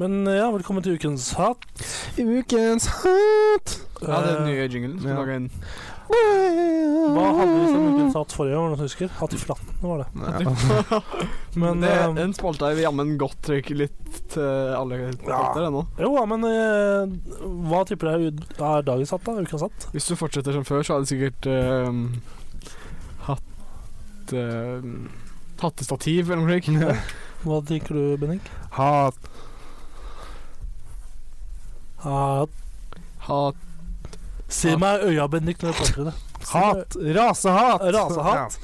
Men eh, ja, velkommen til ukens hatt.
Ukens hat!
Ja, det er den nye jinglen.
Ja.
Lag en
Eh, Hva hadde vi som ukens hatt forrige år? Noen som husker? Hatt i flatten, var det. Men,
det,
eh,
Den spalta er vi jammen godt trykk litt til alle spalter ennå.
Jo, ja, men eh, hva tipper dere er- er dagens hatt, da? Ukens hatt?
Hvis du fortsetter som før, så hadde du sikkert ehm, hatt ehm, Hattestativ eller noe slikt.
Hva tenker du, Bennik?
Hat.
Hatt.
Hatt
Se meg i øya, Bendik, når jeg prater til deg.
Hat. Rasehat.
Rasehat.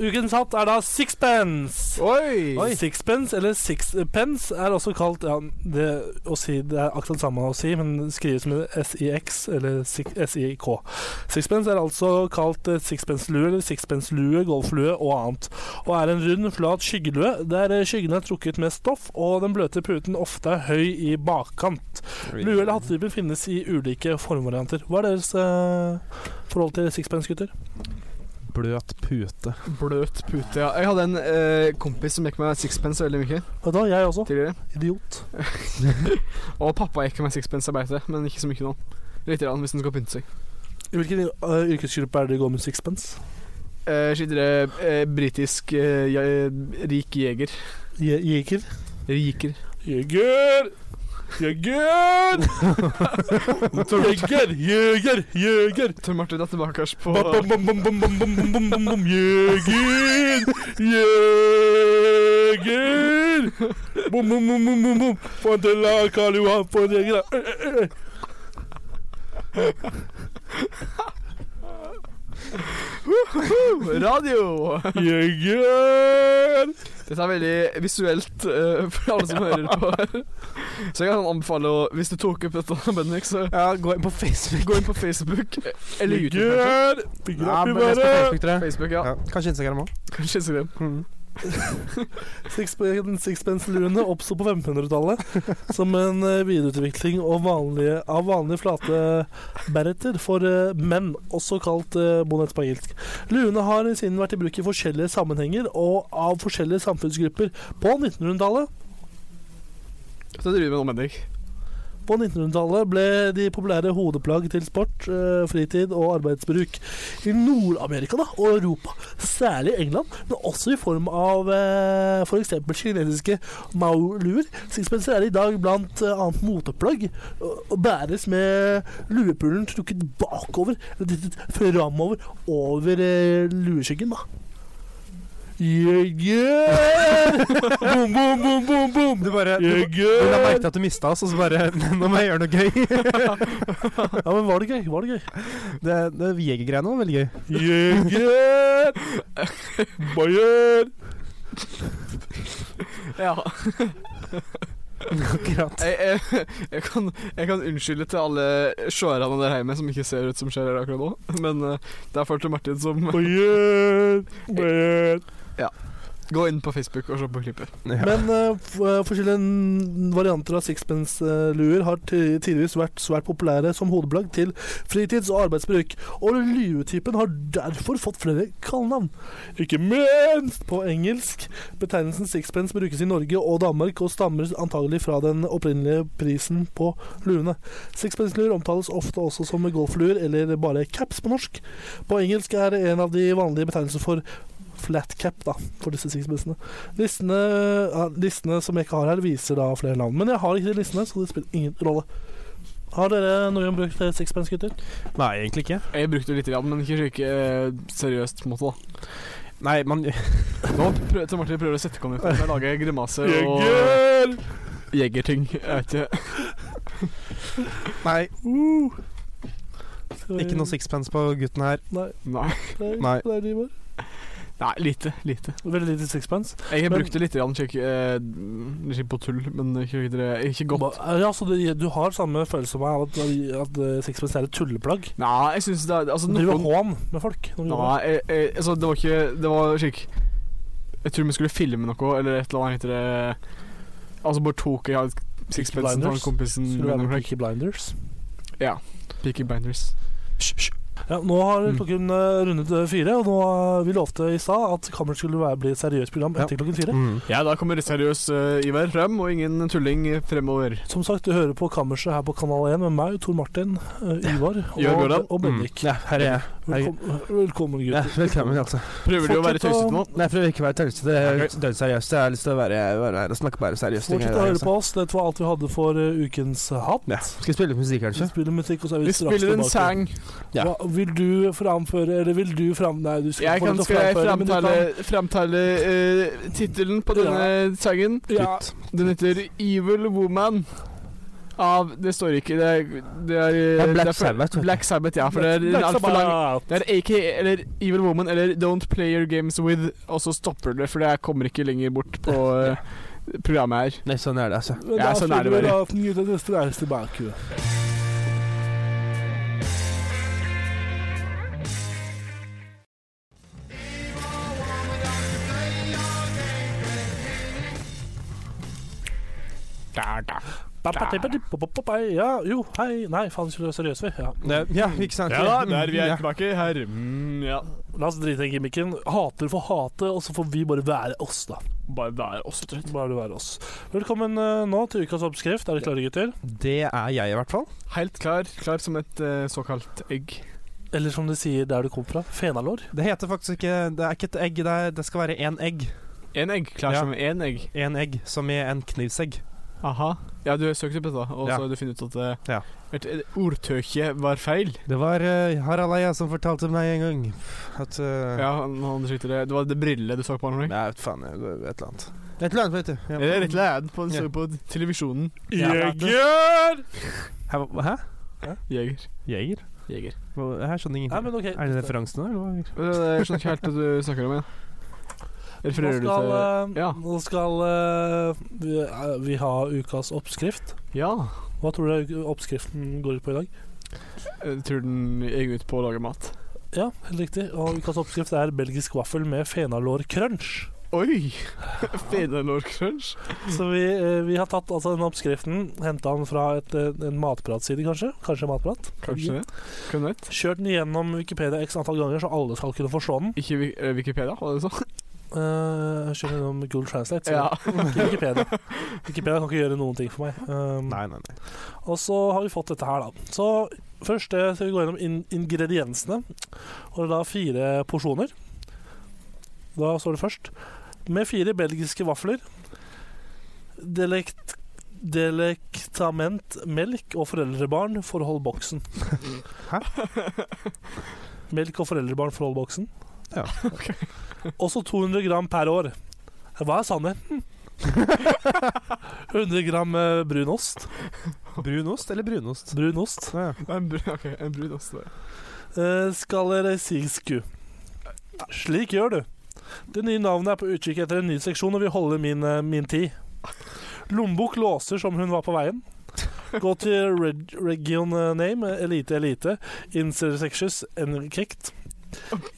Ukens hatt er da sixpence.
Oi!
Oi. Sixpence, eller sixpence, er også kalt ja, det, å si, det er akkurat samme å si, men det skrives med SIX eller sik- SIK. Sixpence er altså kalt eh, sixpence-lue eller sixpence-lue, golflue og annet, og er en rund, flat skyggelue der eh, skyggen er trukket med stoff, og den bløte puten ofte er høy i bakkant. Lue eller hattetypen finnes i ulike formvarianter. Hva er deres eh, forhold til sixpence, gutter?
Bløt pute.
Bløt pute, ja. Jeg hadde en eh, kompis som gikk med sixpence veldig mye
Vet du hva, jeg også.
tidligere.
Idiot.
Og pappa gikk med sixpence, jeg beit det, men ikke så mye nå. Litt grann, hvis den skal pynte seg.
I hvilken eh, yrkesgruppe er det de går med sixpence?
Uh, Skikkelig uh, britisk eh, jeg- rik jeger.
Je jeger?
Riker.
Jeger! Jeger! Jeger, jeger, jeger!
Tor Martin er tilbake her på
Bam, bam, bam, bam, bam, bam, bam, bam, bam, bam. Jeger! Jeger! Bom, bom, bom, bom, bom, bom. Få en til, da, Karl Johan. Få en jeger, da.
radio!
Jeger!
Dette er veldig visuelt eh, for alle som hører på. her. Så jeg kan sånn anbefale å Hvis du tok opp dette, Bendik, så
Ja, gå inn på Facebook.
gå inn på Facebook. eh, Eller YouTube. kanskje.
Jeger! Fingre
Ja,
opp i
men les på
været!
Facebook, tror jeg. Mm.
Facebook, ja.
Ja, kanskje Instagram òg.
Kanskje Instagram.
Sixpen- Sixpence-luene oppsto på 1500-tallet som en eh, videreutvikling av vanlige, av vanlige flate bereter for eh, menn, også kalt eh, bonnet på engelsk. Luene har siden vært i bruk i forskjellige sammenhenger og av forskjellige samfunnsgrupper. På 1900-tallet
Så driver vi med nå, Bendik.
på 1900-tallet ble de populære hodeplagg til sport, eh, fritid og arbeidsbruk i Nord-Amerika da, og Europa, særlig i England, men også i form av f.eks. kinesiske Mao-luer. Sixpencer er i dag blant eh, annet moteplagg og og bæres med luepulen trukket bakover, eller dyttet framover over eh, lueskyggen. da. Yeah, yeah! boom, boom, boom, boom, boom!
Du bare du,
Yeah,
du la
yeah!
merke til at du mista oss, og så bare Nå må jeg gjøre noe gøy.
Ja, men var det gøy? Var det gøy?
det det jegergreiene var veldig gøy.
Yeah, yeah! Bayern!
Ja.
Akkurat.
Jeg, jeg, jeg, kan, jeg kan unnskylde til alle seerne der hjemme som ikke ser ut som skjer her akkurat nå, men eh, det er folk til Martin som
Bayern! Bayern!
Gå inn på Facebook og se på klippet.
Men eh, f- eh, forskjellige n- varianter av sixpence-luer har ti- tidvis vært svært populære som hodeplagg til fritids- og arbeidsbruk, og luetypen har derfor fått flere kallenavn. Ikke minst på engelsk. Betegnelsen sixpence brukes i Norge og Danmark, og stammer antagelig fra den opprinnelige prisen på luene. Sixpence-luer omtales ofte også som golfluer, eller bare caps på norsk. På engelsk er det en av de vanlige betegnelser for flat cap, da, for disse sixpencene. Listene, ja, listene som jeg ikke har her, viser da flere navn. Men jeg har ikke de listene, så det spiller ingen rolle. Har dere noen brukt eh, sixpence, gutter?
Nei, egentlig ikke.
Jeg brukte det litt, grann, men ikke slik eh, seriøst på en måte, da.
Nei, man
Nå prøver til Martin prøver å sette kommunen ut, men lager grimaser og jegerting. Jeg vet ikke.
Nei,
Skal vi-
ikke noe sixpence på gutten her.
Nei.
Nei,
det er-
Nei.
det er de bare.
Nei lite. Lite.
Veldig lite sixpence.
Jeg har
Men-
brukt det litt grann, slik, eh, slik på tull, men ikke, ikke, ikke godt.
Ba- Ja, så du, du har samme følelse som meg av at, at eh, sixpence er et tulleplagg?
Nei, jeg syns det er altså,
Du driver hån med folk? når du gjør
Nei, jeg, jeg, altså, det var ikke Det var slik Jeg tror vi skulle filme noe, eller et eller annet heter det Altså, bare tok jeg sixpensen fra
Blinders?
kompisen
det. Skulle være
min,
med
like,
Peaky Blinders?
Peaky Blinders.
Ja, nå har
Mm.
klokken eh, rundet eh, fire, og nå, eh, vi lovte i stad at Kammer skulle være, bli et seriøst program
Ja.
etter klokken fire.
Mm.
Ja, da kommer seriøs eh, Ivar frem, og ingen tulling fremover.
Som sagt, du hører på Kammerset her på Kanal 1 med meg, Tor Martin, eh, Ivar
Jørn Mm.
og,
Gøran.
og Bendik.
Ja, her er jeg.
Velkommen, velkommen,
Ja,
gutter.
velkommen, altså.
Prøver du å være
Fortsett å-
tøysete nå?
Nei, for å ikke være tøysete. Det er dødsseriøst. Jeg har lyst til å være, være her og snakke bare seriøst. ting
Fortsett
her,
å høre
altså.
på oss. Dette var alt vi hadde for eh, ukens hatt.
Ja. Skal vi spille litt musikk,
Vi
kanskje?
spiller musikk, og så er vi
Vi
straks
spiller en sang.
ja.
Hva, vil du framføre, eller vil du fram... Nei, du skal
Jeg
ikke få
kan
lov til å
skal jeg
framføre, men du
fremtale, fremtale eh, tittelen på denne sangen.
Ja.
eh,
Den heter 'Evil Woman'. Av Det står ikke Det er, det er,
Det er
det
Black
er for-
Sabbath. vet du.
Black Sabbath, ja. For det er en
Black
altfor lang
Sabbath.
Det er AK eller Evil Woman eller Don't Play Your Games With, og så stopper det, for jeg kommer ikke lenger bort på eh, programmet her.
Nei, sånn er det, altså.
Men
Ja,
da
sånn er det
følger
bare.
Aften, gutter, det streis tilbake. Ba, ba, di, ba, di, ba, ba, ba, ba. Ja, jo, hei Nei, faen, skulle være seriøse, vi. Ja.
Det, ja, ikke sant? Ja.
tilbake her. Mm, ja.
La oss drite i gimmicken. Hater for hate, og så får vi bare være oss, da.
Bare vær også trøtt.
Bare være oss. Velkommen eh, nå til ukas oppskrift. Er dere klare, gutter?
Det er jeg, i hvert fall.
Helt klar. Klar som et eh, såkalt egg.
Eller som de sier der du kom fra, fenalår.
Det heter faktisk ikke Det er ikke et egg, det, er, det skal være én egg.
Én egg. Klar
Ja.
som én egg.
Én egg, som i en knivsegg.
Aha. Ja, du har søkt opp dette, og
Ja.
så har du funnet ut at eh,
Ja.
et, et ordtøke var feil.
Det var eh, Harald Eia som fortalte meg en gang at eh,
Ja, han, han skjønte det. Det var det brille du så på? Henrik.
Nei, vet faen, jeg- et eller annet. Et eller annet, vet du. Ja.
Eller rett eller annet på,
Ja.
så på televisjonen.
Ja,
Jeger!
Hæ? hva- Hæ?
Jeger.
Jeger?
Jeger.
Hva- Jeg skjønner
Nei,
ingenting.
men OK.
Er det referansen, da, eller? hva?
Øh, Jeg skjønner ikke helt hva du snakker om. Jeg.
Nå
Refererer du
skal,
til
eh,
ja.
nå skal eh, vi, eh, vi ha ukas oppskrift.
Ja.
Hva tror dere u- oppskriften går ut på i dag?
Jeg Eh, tror den gikk ut på å lage mat.
Ja, helt riktig. Og ukas oppskrift er belgisk vaffel med fenalår crunch.
Oi! Fenalår-crunch.
Så vi, eh, vi har tatt altså den oppskriften, henta den fra et, eh, en matpratside, kanskje. Kanskje matprat.
Kanskje det. Hvem vet?
Kjørt den gjennom Wikipedia x antall ganger, så alle skal kunne forstå den.
Ikke Wik- eh, Wikipedia, var det så?
Uh, Kjørt gjennom Google Translate. Så
Ja.
ikke Wikipedia. Wikipedia kan ikke gjøre noen ting for meg. Um,
Nei, nei, nei.
og så har vi fått dette her, da. Så først eh, skal vi gå gjennom in ingrediensene. Og det er da fire porsjoner. Da står det først Med fire belgiske vafler. Delekt Delektament, melk og foreldrebarn, forhold boksen.
Hæ?
Melk og foreldrebarn, forhold boksen.
Ja.
Også 200 gram per år. Hva er sannheten? 100 gram eh, brunost.
Brunost eller brunost?
Brunost.
Ja, ja.
En, bru, ok, en brud også. da.
Eh, skal dere sigsku. Slik gjør du. Det nye navnet er på utkikk etter en ny seksjon og vil holde min, eh, min tid. Lommebok låser som hun var på veien. Gå til reg region eh, name, eh, elite elite, intersections and kicked.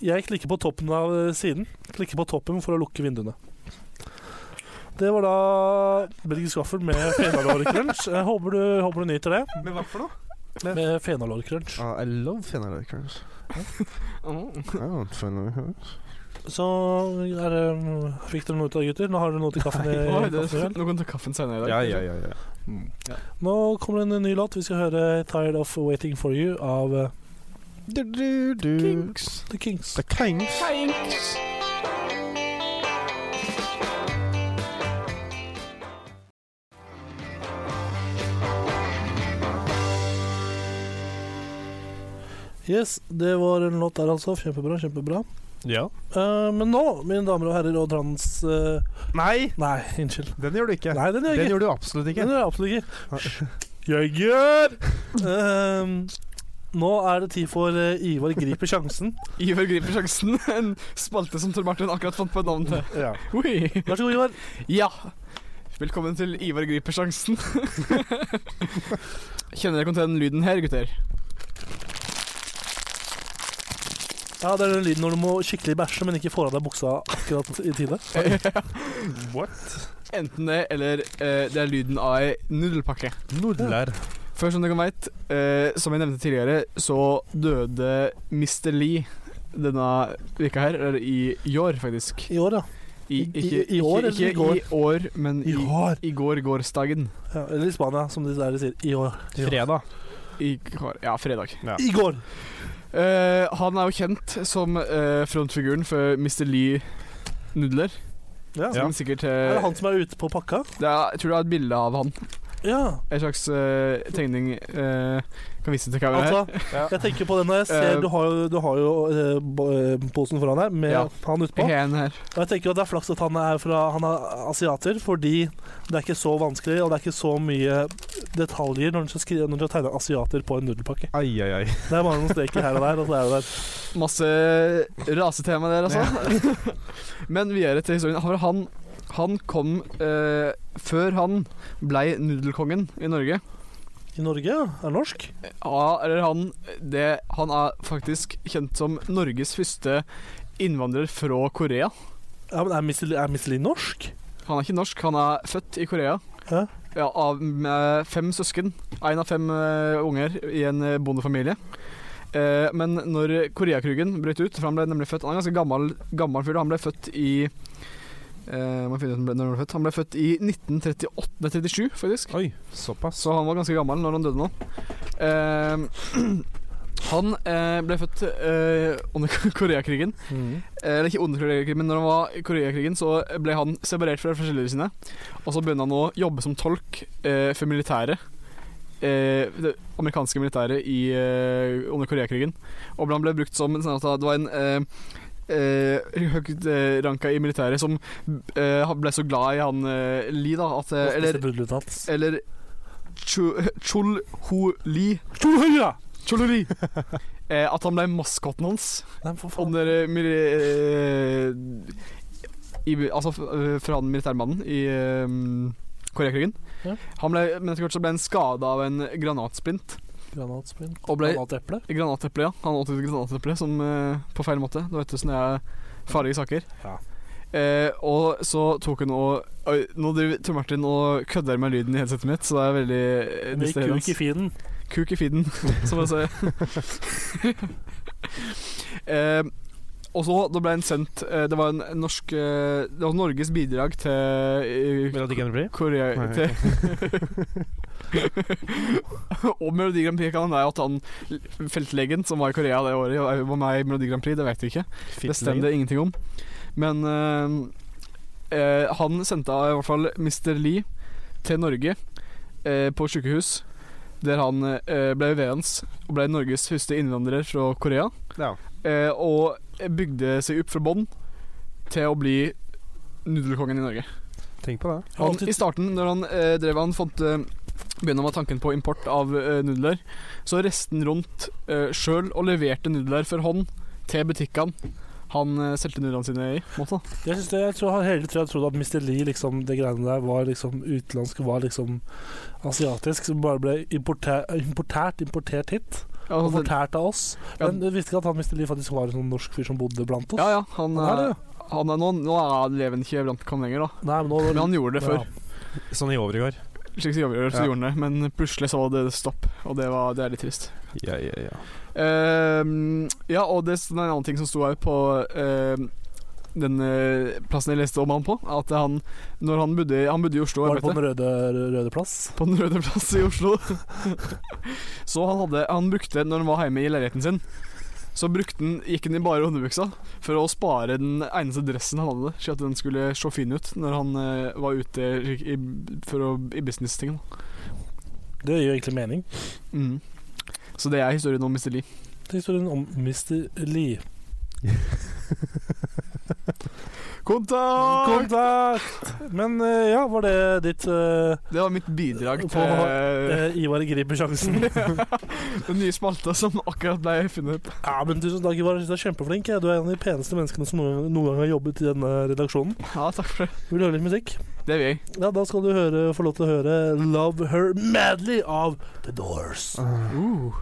Jeg klikker på toppen av eh, siden. Klikker på toppen for å lukke vinduene. Det var da Belgisk vaffel med fenalårcrunch. Jeg Håper, du- håper du nyter det.
Med hva for noe?
Med fenalårcrunch.
Ah,
I love Fenalor Crunch.
Åh.
I want Fenalor Crunch.
Så er det, mm, fikk dere noe ut av det, gutter? Nå har dere noe til kaffen. i-
Oi, det,
kaffen i kveld.
nå kan du ta kaffen senere i dag.
Ja, ja, ja, ja.
Nå kommer det en ny låt. Vi skal høre 'Tired of Waiting for You' av eh,
Du, du, du. Kinks.
The Kings.
The Kinks.
Yes, det var en låt der, altså. Kjempebra. kjempebra Eh, Men nå, mine damer og herrer og trans... eh,
Nei,
nei, unnskyld.
den gjør du ikke.
Nei, den gjør
Den
jeg ikke.
gjør du absolutt ikke.
Den gjør jeg absolutt ikke. Jeg gjør Ehm, Nå er det tid for eh, Ivar griper sjansen.
Ivar griper sjansen. En spalte som Tor Martin akkurat fant på et navn til.
Ja.
Oi.
Vær så god, Ivar.
Ja. Velkommen til Ivar griper sjansen. Kjenner dere til den lyden her, gutter?
Ja, Det er den lyden når du må skikkelig bæsje, men ikke får av deg buksa akkurat i tide.
Enten det, eller eh, det er lyden av ei nudelpakke.
Nudler.
Før som dere veit, eh, som jeg nevnte tidligere, så døde Mr. Lee denne veka her. Eller i i år, faktisk.
I år, ja. I- i- i
ikke,
år, eller i går?
i år, men i,
I år.
i går gårsdagen.
ja. Eller i Spania, som de der sier. I år.
Fredag.
I går, ja, fredag.
I går!
Eh, han er jo kjent som eh, frontfiguren for Mr. Lee Nudler.
Ja.
Som sikkert
Er
eh,
det han som er ute på pakka?
det er, Jeg tror det er et bilde av han.
Ja.
En slags eh, tegning eh, Kan vise til kameraet her.
Altså, jeg tenker på den når jeg ser
Eh,
Du har jo, du har jo eh, bo- eh, posen foran her med
Ja.
han utpå.
Jeg har en her.
Og jeg tenker at det er flaks at han er fra Han er asiater, fordi det er ikke så vanskelig, og det er ikke så mye detaljer når du skal, skrive, når du skal tegne asiater på en nudelpakke.
Ai, ai, ai.
Det er bare noen streker her og der, og så er det der.
Masse rasetema der, altså. Men videre til historien. For han, han kom eh, Før han blei nudelkongen i Norge
I Norge, ja. Er norsk.
Ja, eller han det, Han er faktisk kjent som Norges første innvandrer fra Korea.
Ja, men er Missili, er Miss Li norsk?
Han er ikke norsk, han er født i Korea.
Hæ?
Ja, av, med fem søsken. Én av fem eh, unger i en eh, bondefamilie. Eh, men når Koreakrigen brøt ut, for han ble nemlig født Han er en ganske gammel, gammel fyr. da. Han ble født i eh, må finne ut når han ble født. Han ble født i 1938, nei, 37 faktisk.
Oi, såpass.
Så han var ganske gammel når han døde nå. Eh, han eh, ble født eh, under Koreakrigen. Eh, Eller ikke under Koreakrigen, men når han var i Koreakrigen, så ble han separert fra foreldrene sine. Og så begynte han å jobbe som tolk eh, for militæret. Eh, det amerikanske militæret i, eh, under Koreakrigen. Og han ble brukt som en sånn at Det var en eh, eh, høyt eh, ranka i militæret som eh, han ble så glad i han eh, Lee, da, at eh, Eller, eller Chu- Chul Ho Lee.
Eller
Chul Ho Lee. Eh, at han ble maskotten hans.
Nei, for faen.
Under eh, mil- eh, i, Altså f- eh, fra den militærmannen i eh, Koreakrigen.
Ja.
Han ble, men etter hvert så ble han skada av en granatsplint.
Granatspinn.
Og ble
Granateple.
granateple, ja. Han åt et granateple som, eh, på feil måte. Du vet hvordan det er farlige saker.
Ja.
Eh, og så tok hun og Oi, Nå driver Tor Martin og kødder med lyden i headsetet mitt, så det er veldig eh,
Med
distraherende.
kuk i fiden.
Kuk i feeden, som jeg sier. eh, og så da ble en sendt eh, Det var en norsk eh, Det var Norges bidrag til eh,
Vil at ikke blir?
Korea
Nei,
til Og Melodi Grand Prix kan han være at han feltlegen som var i Korea det året, ja, var med i Melodi Grand Prix, det vet vi ikke. Det stemmer det ingenting om. Men eh, eh, han sendte i hvert fall Mr. Lee til Norge eh, på sykehus der han eh, ble VEANS og ble Norges første innvandrer fra Korea.
Ja.
eh, og bygde seg opp fra bånn til å bli nudelkongen i Norge.
Tenk på det.
Han,
Alltid-
I starten, når han eh, drev han fant eh, begynner med tanken på import av eh, nudler, så reiste han rundt eh, sjøl og leverte nudler for hånd til butikkene han eh, solgte nudlene sine i. på en Måte.
Jeg, synes det, jeg tror han hele tida trodde at Mr. Lee, liksom, det greiene der, var liksom utenlandsk, var liksom asiatisk, som bare ble importer, importert, importert hit.
Ja,
Og
han,
fortært av oss. Men jeg visste ikke at han Mr. Lee faktisk var en sånn norsk fyr som bodde blant oss.
ja, ja, han,
Han er det,
eh, han er, nå, nå er- lever han ikke blant oss lenger, da.
Nei, men nå,
Men han gjorde det før.
Sånn i overgår.
Slik som gjorde, så
Ja.
gjorde han det, men plutselig så var det stopp, og det, var, det er litt trist.
Ja, ja, ja.
Ehm, ja, og det er en annen ting som sto her på ehm, den eh, plassen jeg leste om han på. At han, når han bodde, han bodde i Oslo
Var
jeg
det på
vet det,
Den røde, røde plass?
på den røde plass i Oslo. så han, hadde, han brukte, når han var hjemme i leiligheten sin, så brukte han, gikk han i bare underbuksa for å spare den eneste dressen han hadde, slik at den skulle se fin ut når han eh, var ute i, i, for å, i business-tingen.
Det gir jo egentlig mening.
Mm. Så det er historien om Mr. Lee.
Det er historien om Mr. Lee.
Kontakt!
Kontakt! Men eh, ja, var det ditt eh,
Det var mitt bidrag
På-
til eh,
eh, Ivar griper sjansen?
den nye spalta som akkurat ble funnet opp.
Ja, men tusen takk, Ivar. Jeg synes Du er kjempeflink. jeg. Du er en av de peneste menneskene som noen, noen gang har jobbet i denne redaksjonen.
Ja, takk for det.
Vil du høre litt musikk?
Det vil jeg.
Ja, da skal du høre, få lov til å høre 'Love Her Madly' av The Doors.
Ah,
Uh.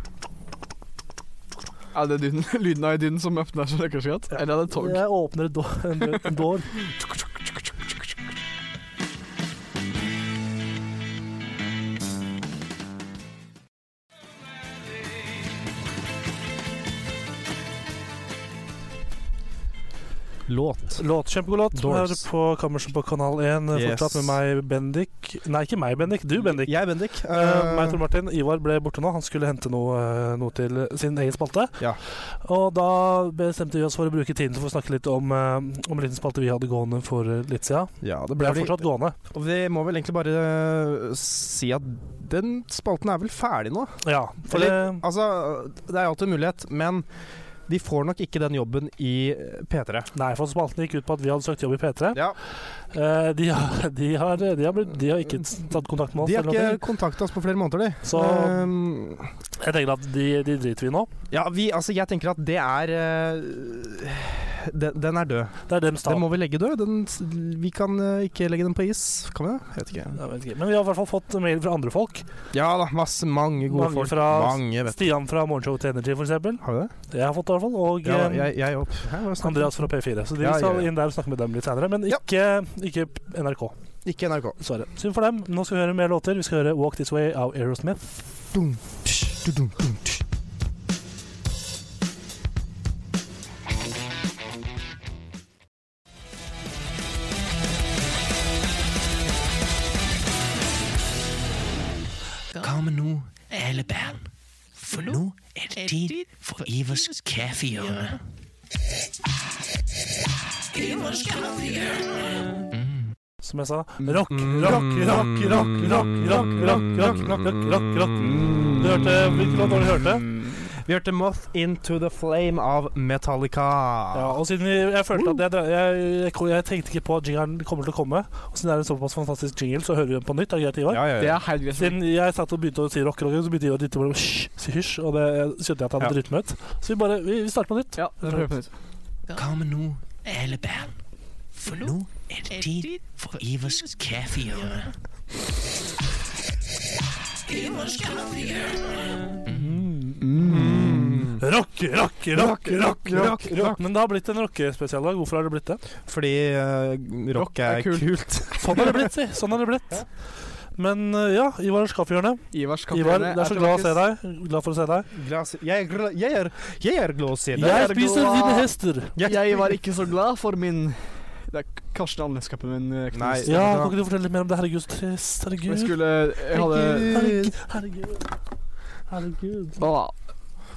Er det dyden, lyden av dyden som åpner seg røkkerskatt?
Ja.
Eller er det tog?
Jeg åpner do en dø- en dår.
Låt.
Låt, kjempegod låt. Du er
Doors.
på kammerset på Kanal 1
Yes.
fortsatt med meg, Bendik. Nei, ikke meg, Bendik. Du, Bendik.
Jeg, Bendik.
Eh, meg, Tor Martin. Ivar ble borte nå. Han skulle hente noe, eh, noe til sin egen spalte.
Ja.
Og da bestemte vi oss for å bruke tiden til å få snakke litt om, eh, om en liten spalte vi hadde gående for eh, litt siden.
ja, det
Ble
ble
fortsatt gående.
Og vi må vel egentlig bare øh, si at den spalten er vel ferdig nå?
Ja. For
Eller-
det,
Altså, det er jo alltid en mulighet, men de får nok ikke den jobben i P3.
nei, for spalten gikk ut på at vi hadde søkt jobb i P3.
Ja,
Eh, de, har, de, har, de, har blitt, de har ikke tatt kontakt med oss.
De har
eller
ikke eh,
noe.
kontakta oss på flere måneder, de.
Så-
Ehm,
Jeg tenker at de, de driter vi i nå.
ja, vi, altså, jeg tenker at det er øh, den, den er død.
Det er dems tap.
Den må vi legge død. Den, s- vi kan øh, ikke legge den på is. Kan vi det? Jeg vet ikke.
Jeg vet ikke. Men vi har i hvert fall fått mail fra andre folk.
Ja da, masse, mange gode
Mange
folk.
fra-
mange, vet du.
Stian fra Morgenshow til Energy, f.eks.
Har vi det?
Jeg har fått det, i hvert fall. Og
Ja,
eh,
jeg, jeg opp. Hæ, hva snakker
Andreas fra P4. Så de
Ja,
skal
ja, ja.
inn der og snakke med dem litt senere. Men
Ja.
ikke, ikke NRK,
vi? Ikke NRK.
dessverre. Synd for dem. Nå skal vi høre mer låter. Vi skal høre 'Walk This Way' av Aerosmith.
Dum, tsh, du, dum, dum, tsh.
Kom nu, alle børn. For nu er det tid for Evers kaffehjørne.
Som jeg sa rock, rock, rock, rock, rock, rock, rock, rock, rock, rock, rock, rock. Du hørte hvilken låt var det du hørte?
Vi hørte Moth Into The Flame av Metallica.
Ja, og siden jeg, jeg følte at jeg, jeg, jeg, jeg tenkte ikke på at jingeren kommer til å komme, og siden det er en såpass fantastisk jingle, så hører vi den på nytt. Er det greit, Ivar?
ja,
Det er helt greit.
Siden jeg satt og begynte å si rock, rock, så begynte Ivar å dytte mellom hysj, si hysj, og det skjønte jeg at han hadde
Ja.
dritt meg ut. Så vi bare vi, vi starter på nytt.
Ja, det prøver vi på nytt.
Kom nu, alle børn. For nu er det tid for Evers kaffehjørne.
Mm. Rock, rock, rock, rock, rock, rock. Men det har blitt en rockespesialdag. Hvorfor har det blitt det?
Fordi eh, rock er, kult.
Sånn har det blitt, si. Sånn har det blitt. Men eh, ja, Ivar Skaffehjørne.
Ivars
Ivar,
kaffehjørne
jeg er så glad å se deg. Glad for å se deg.
Glas- Jeg, er gla- jeg, er, jeg er glad å se deg.
Jeg spiser dine hester.
tilbake. Jeg var ikke så glad for min Det er Karsten Andneskapen min. eh, knust.
Nei.
Ja, kan ikke du fortelle litt mer om det? Herregud, så trist.
Jeg
Herregud.
skulle Jeg hadde
Herregud. Herregud. Herregud.
Å,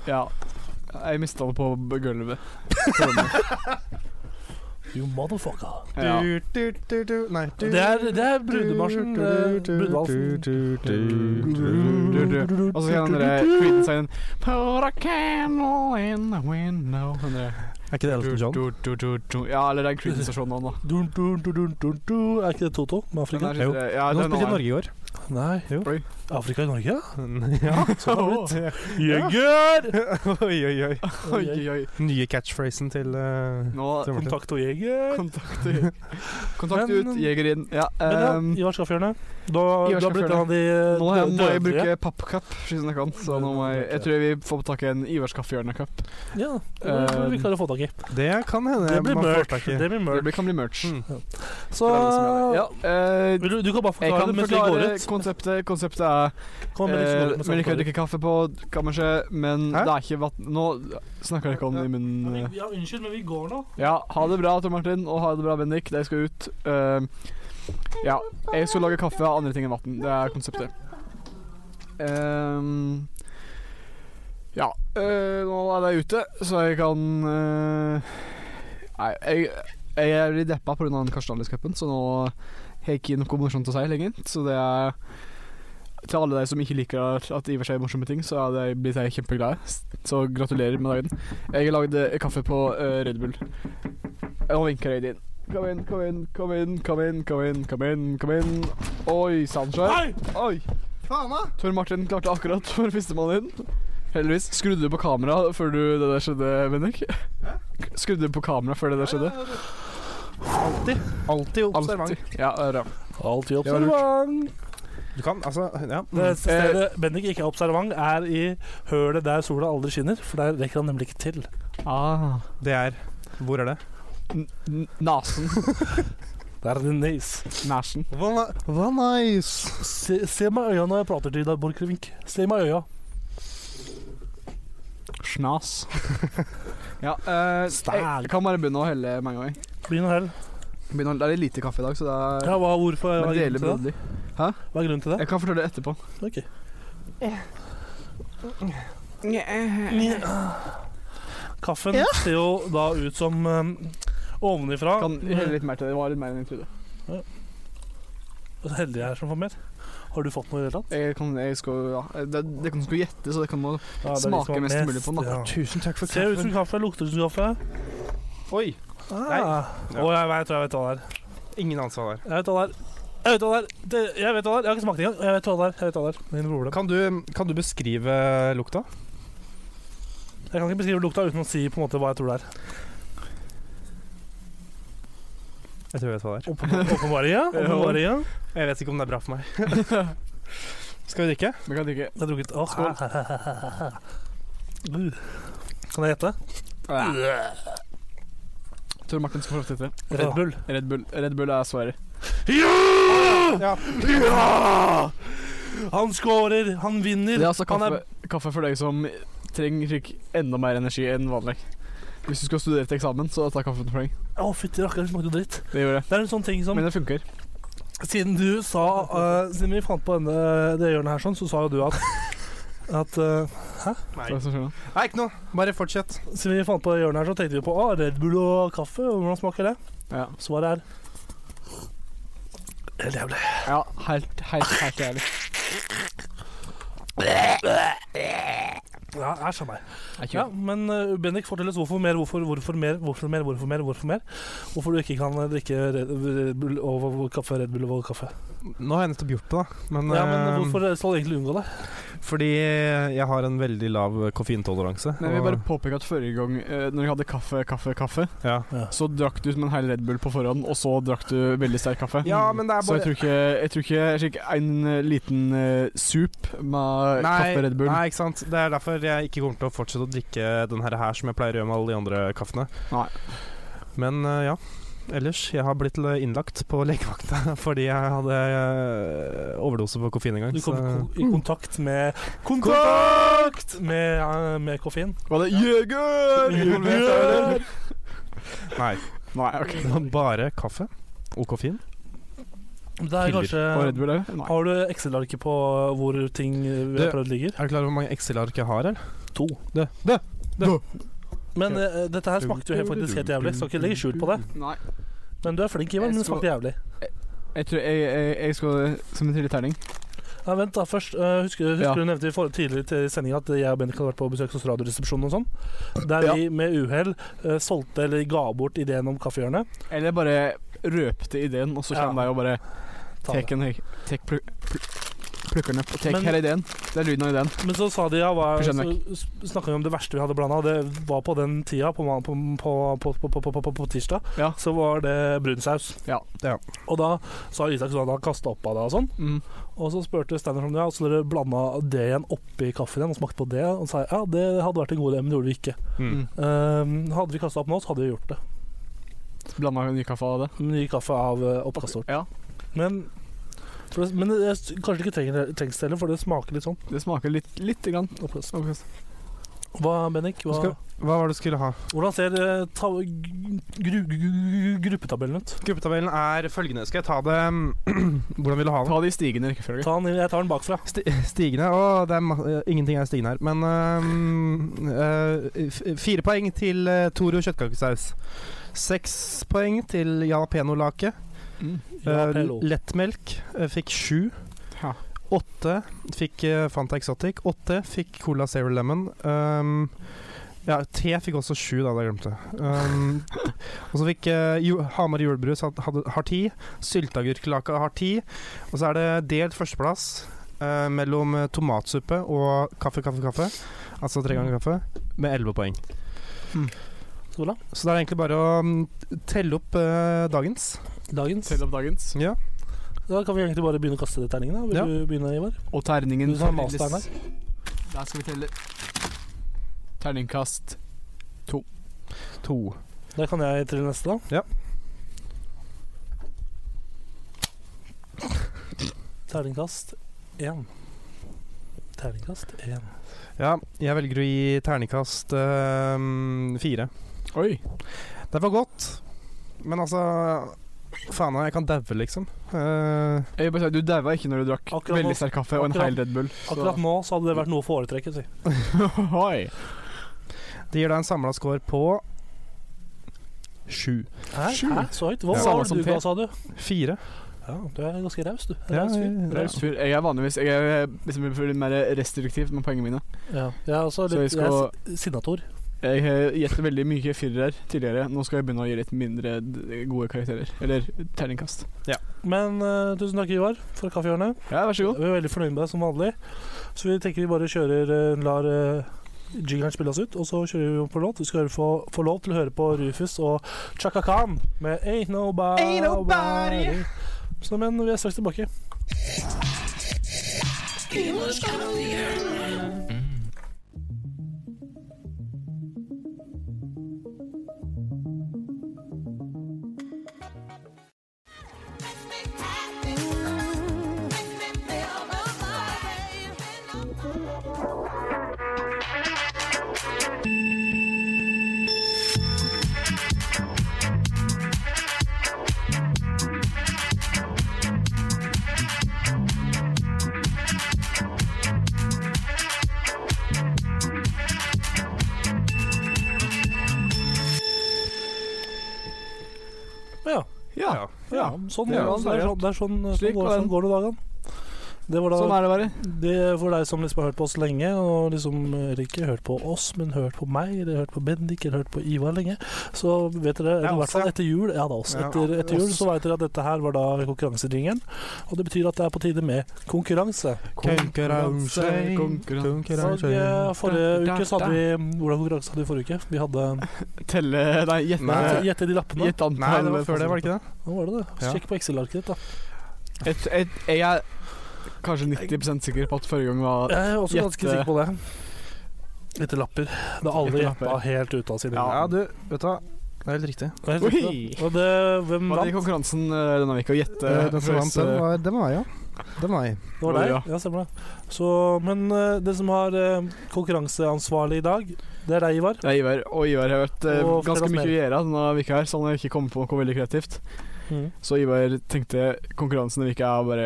Ja. Jeg mista det på b- gulvet.
You motherfucker.
Ja.
Du, du, du, du. Nei du,
Det er, det er brudemarsjen. eh, Brudevalsen.
Og så kan den derre Creedence-sangen Put a candle in the window Den derre
Er ikke det Elton John?
du, du, du, du. Ja, eller det er en Creedence-versjon nå, da.
Dun, dun, dun, dun, dun, dun. Er ikke det Toto med
Den
Afrika?
er litt- ja,
Nå
den
spilte i
har-
Norge i år.
Nei.
Jo.
Oi.
Afrika i Norge?
ja.
Jeger!
oi, oi, oi.
Oi, oi, oi.
Nye catchphrasen til eh,
Nå
til Martin.
Kontakt og jeger.
Kontakt, kontakt
Men-
ut, jeger inn. Ja,
Men ja,
ehm,
Ivar Skaffjørne. Da,
Ivar
da brukte
Skaffjørne.
han de
nå har jeg- må jeg
dødelige.
bruke pappkapp, siden jeg kan. Så nå må jeg, jeg tror vi får på tak i en Ivars kaffehjørnekapp.
Ja, det blir
Eh,
vi klare å få tak i.
Det kan hende
Det blir
man får
merch.
tak i.
Det blir
Det
merch. Hmm.
blir- kan bli merch.
Mm.
Så
For alle som er der. Ja, eh,
vil du, du kan bare
jeg
forklare
kan
det mens vi går
forklare
ut.
konseptet. Konseptet er
Kom, men
eh,
ikke gå ut mens
Men
han
ikke
går ut.
drikke kaffe på kammerset, men
Hæ?
det er ikke vann Nå snakker jeg ikke om det i
Ja,
munnen. eh.
vi- Ja, unnskyld, men vi går nå.
Ja, ha det bra, Tor Martin, og ha det bra, Bendik. Dere skal ut. Eh, ja, jeg skal lage kaffe av andre ting enn vann. Det er konseptet. Ehm, ja, eh, nå er det ute, så jeg kan eh, Nei, jeg, jeg er litt deppa pga. den Karstenlandscupen, så nå har jeg ikke noe morsomt å si lenger. Så det er til alle dere som ikke liker at Ivar sier morsomme ting, så er det, blir jeg kjempeglad. Så gratulerer med dagen. Jeg har lagd eh, kaffe på eh, Red Bull. Nå vinker jeg inn. Kom inn, kom inn, kom inn, kom inn, kom inn. kom inn, kom inn. Oi, Sandskjær.
Hei!
Oi. Tor Martin klarte akkurat å være førstemann inn. Heldigvis. Skrudde du på kamera før du, det der skjedde, Bendik? Skrudde du på kamera før det der skjedde?
Alltid observant.
Alltid. Ja, det er bra.
Alltid
Det var lurt.
observant.
Du kan, altså Ja.
Det eneste stedet Bendik ikke er observant, er i hølet der sola aldri skinner. For der rekker han nemlig ikke til.
Ah.
Det er Hvor er det?
N- n- Nasen.
Der er det nice.
Nasen.
Hva nice!
Se, se meg i øya når jeg prater til deg, Borchgrevink. Se meg i øya.
Snas. ja, eh,
Stæl.
jeg kan bare begynne å helle med en gang. jeg.
Begynn å helle.
Begynne å, det er litt lite kaffe i dag, så det er
Ja, hva, hvorfor, hva,
Men det
er
gjelder
grunnen til det?
blodig.
hva er grunnen til det?
Jeg kan fortelle det etterpå.
Ok. Kaffen ser jo da ut som um, ovenifra
Kan helle litt mer til det. Det var litt mer enn jeg trodde.
Så heldig jeg er som får mer. Har du fått noe i det hele tatt?
Jeg kan, jeg skal, ja. det, det kan du skulle gjette, så det kan man
Ja, det er de
Smaker
som har
mest mulig på Ah. den, da.
ja.
Tusen takk for
Ser ut
kaffen.
som kaffe, lukter som kaffe.
Oi!
Nei. Å, jeg vet, jeg vet hva det er.
Ingen ansvar der.
Jeg vet hva det er. Jeg vet hva det er. Det, jeg vet hva det er. Jeg har ikke smakt det engang. Jeg vet hva det er. Jeg vet hva det er. Min bror det.
Kan du, kan du beskrive lukta?
Jeg kan ikke beskrive lukta uten å si på en måte hva jeg tror det er.
Jeg tror jeg vet hva det er.
Åpenbaring, ja. Åpenbaring, ja.
Jeg vet ikke om det er bra for meg. Skal vi drikke?
Vi kan drikke.
Jeg har drukket Åh, Uh. Kan jeg gjette?
Tor Martin skal få lov til å gjette.
Red Bull.
Red Bull, Red Bull er svaret.
Ja.
Ja! Han scorer, han vinner.
Det er altså
han
kaffe, kaffe for deg som trenger slik enda mer energi enn vanlig. Hvis du skal studere til eksamen, så ta kaffen for deg.
Å, fytti rakkeren, det smakte jo dritt.
Det gjør det.
Det er en sånn ting som
Men det funker.
Siden du sa eh, Siden vi fant på denne, det hjørnet her, sånn, så sa jo du at at eh,
Det er det som skjer nå.
Nei, ikke noe. Bare fortsett.
Siden vi fant på det hjørnet her, så tenkte vi på ah, Red Bull og kaffe. og Hvordan smaker det?
Ja.
Svaret er Helt jævlig.
Ja, helt, helt, helt jævlig.
Ja, æsj a meg.
Det er ikke
Ja, men eh, Bendik, fortell oss hvorfor mer, hvorfor, hvorfor mer, hvorfor mer, hvorfor mer, hvorfor mer? Hvorfor du ikke kan eh, drikke Red, Red Bull og, og, og kaffe, Red Bull og kaffe.
Nå har jeg nettopp gjort det, da. Men,
Ja, men
eh,
hvorfor skal du egentlig unngå det?
Fordi jeg har en veldig lav koffeintoleranse.
Men jeg vil
og-
bare påpeke at forrige gang eh, når jeg hadde kaffe, kaffe, kaffe,
ja.
så drakk du som en hel Red Bull på forhånd, og så drakk du veldig sterk kaffe.
ja, men det er
Så jeg
bare
tror ikke, jeg tror ikke slik en eh, liten eh, soup med kaffe Red Bull
nei, ikke sant. Det er derfor jeg ikke kommer til å fortsette å drikke den her, her som jeg pleier å gjøre med alle de andre kaffene.
Nei.
Men eh, ja. Ellers, jeg har blitt innlagt på legevakta fordi jeg hadde eh, overdose på koffein en gang.
Du
så-
kommer i kontakt med Kontakt med, eh, med koffein.
Var det Jeger? Involvert der, eller?
Nei,
Nei, ok.
det var bare kaffe og koffein.
Det er
Piller.
kanskje
Og Red Bull òg? Nei.
Har du Excel-arket på hvor ting vi har
Det-
prøvd ligger?
Er du klar over hvor mange Excel-ark jeg har? eller?
To.
Det. Det. det.
Men eh, dette her smakte jo helt- faktisk helt jævlig. Skal ikke legge skjul på det.
Nei.
Men du er flink, Ivar, men det smakte jævlig.
Jeg tror jeg, jeg, jeg skal som en tredje terning.
Ja, vent da, først eh, Husker, husker
Ja.
du nevnte i for, tidligere i sendinga at jeg og Bendik hadde vært på besøk hos Radioresepsjonen og sånn? Der
Ja.
vi med uhell eh, solgte eller ga bort ideen om kaffehjørnet.
Eller bare røpte ideen, og så
Ja.
kommer jeg og bare
Ta det.
tek en hek- tek pluk, pluk, Plukker den opp og tek
Men-
her er ideen. Det er lyden av ideen.
Men så sa de ja, hva, så
Skjønner
snakka vi om det verste vi hadde blanda. Det var på den tida, på, ma- på, på, på, på, på, på, på, på tirsdag,
Ja.
så var det brunsaus.
Ja.
Ja.
Og da sa Isak sånn at han kasta opp av det og sånn.
Mm.
Og så spurte Steinar om det, og så dere blanda det igjen oppi kaffen igjen og smakte på det. Og sa ja, det hadde vært en god idé, men det gjorde vi ikke.
Mm.
Ehm, hadde vi kasta opp nå, så hadde vi gjort det.
Blanda ny kaffe av det.
Ny kaffe av eh, oppkastet vårt.
Ja,
Men, for det, men det, jeg- kanskje det ikke trenger- trengs det heller, for det smaker litt sånn.
Det smaker litt, lite grann.
oppkast.
Oppkast.
Hva, Bennik? Hva?
Skal- Hva var det du skulle ha?
Hvordan ser eh, ta gru gru gruppetabellen ut?
Gruppetabellen er følgende. Skal jeg ta det mm, Hvordan vil du ha den?
Ta det i stigende rekkefølge.
Ta den, jeg tar den bakfra.
Sti stigende Å, det er ma eh, ingenting er stigende her. Men ehm, eh, f- fire poeng til eh, Toro kjøttkakesaus. Seks poeng til jalapeno-lake.
Ja,
Mm.
Eh,
PLO.
lettmelk eh, fikk sju.
Ja.
Åtte fikk eh, Fanta Exotic. Åtte fikk Cola Zero Lemon. Ehm, ja, te fikk også sju, da. Det glemte jeg. Ehm, og så fikk eh, ju- Hamar julebrus had- hadde- har ti. Sylteagurklaka har ti. Og så er det delt førsteplass eh, mellom eh, tomatsuppe og kaffe, kaffe, kaffe. Altså tre ganger kaffe, med elleve poeng.
Mm.
Ola?
Så det er egentlig bare å mm, telle opp eh, dagens.
Dagens.
Tell opp dagens.
Ja.
Da kan vi egentlig bare begynne å kaste terningene. da. Vil
Ja.
du begynne, Ivar?
Og terningen
Du tar masteren her.
Der skal vi telle. Terningkast.
To.
Da kan jeg til neste, da.
Ja.
Terningkast én. Terningkast én.
Ja, jeg velger å gi terningkast eh, fire.
Oi.
Det var godt, men altså Faen, jeg kan daue, liksom. Eh,
Jeg vil bare si, Du daua ikke når du drakk
Akkurat nå-
veldig sterk kaffe og en
akkurat-
hel Red Bull.
Akkurat nå så hadde det vært noe å foretrekke. Si.
Oi.
det gir deg en samla score på sju.
Hæ?
Sju?
Hæ? Så høyt? Hva
Ja.
sa
Samme som
du,
te.
hva sa du?
Fire.
Ja, du er ganske raus, du.
Ja,
Raus fyr.
ja, ja.
Raus fyr. Jeg er vanligvis Jeg er liksom litt mer restriktiv med poengene mine.
Ja. Jeg er
Så
også litt
jeg
jeg
skal-
er si- sinnator.
Jeg har gitt veldig mye firere tidligere. Nå skal jeg begynne å gi litt mindre d- gode karakterer. Eller terningkast.
Men eh, tusen takk, Ivar, for kaffehjørnet.
Ja, vær så god.
Vi er veldig fornøyd med deg som vanlig. Så vi tenker vi bare kjører eh, lar uh, jingeren spille oss ut, og så kjører vi på låt. Vi skal få, få lov til å høre på Rufus og Chaka Khan med Ain't Nobody.
Ain't nobody.
Så, men vi er straks tilbake. Ja.
Ja.
ja. Sånn,
Det var
så det er sånn, det er sånn,
Slik
sånn, går,
var den.
sånn går det dagene. Det var da
Sånn er det bare.
Det er for deg som liksom har hørt på oss lenge, og liksom eller ikke hørt på oss, men hørt på meg, eller hørt på Bendik, eller hørt på Ivar lenge, så vet dere,
Det er
i hvert
oss,
fall
ja.
etter jul, ja det er oss,
Ja,
etter,
det er
etter jul
oss.
så vet dere at dette her var da konkurransejingeren, og det betyr at det er på tide med konkurranse.
Konkurranse,
Konkurranse.
Og eh, forrige uke så hadde vi Hvordan konkurranse hadde vi forrige uke? Vi hadde
Telle Nei, gjette
Nei.
Gjette de lappene.
Gjett antall.
Nei, det var før det, var det ikke det?
Nå var det det.
Ja.
Sjekk på Excel-arket ditt, da.
Et, et, jeg er kanskje 90 sikker på at forrige gang var
Jeg er også
Gjette-
ganske sikker på det. Gjette lapper. Da alle
Gjette lapper.
gjetta helt ute av sine
Ja,
liv.
du, vet du hva. Det er helt riktig.
Det er helt riktig,
Oi!
da. Og det, hvem
Var det i
vant?
konkurransen eh, denne uka? Å gjette
Eh, den som
hvis,
vant, den
eh,
var, den var jeg, ja. Den var jeg.
Det var
Var
deg?
det,
Ja. stemmer det. Så, men eh, det som har eh, konkurranseansvarlig i dag, det er deg, Ivar.
Det er Ivar. Og Ivar har vært eh,
Og
ganske
flere
mye
mer.
å gjøre denne uka her, så han har ikke kommet på noe veldig kreativt.
Mhm.
Så Ivar tenkte konkurransen denne uka er bare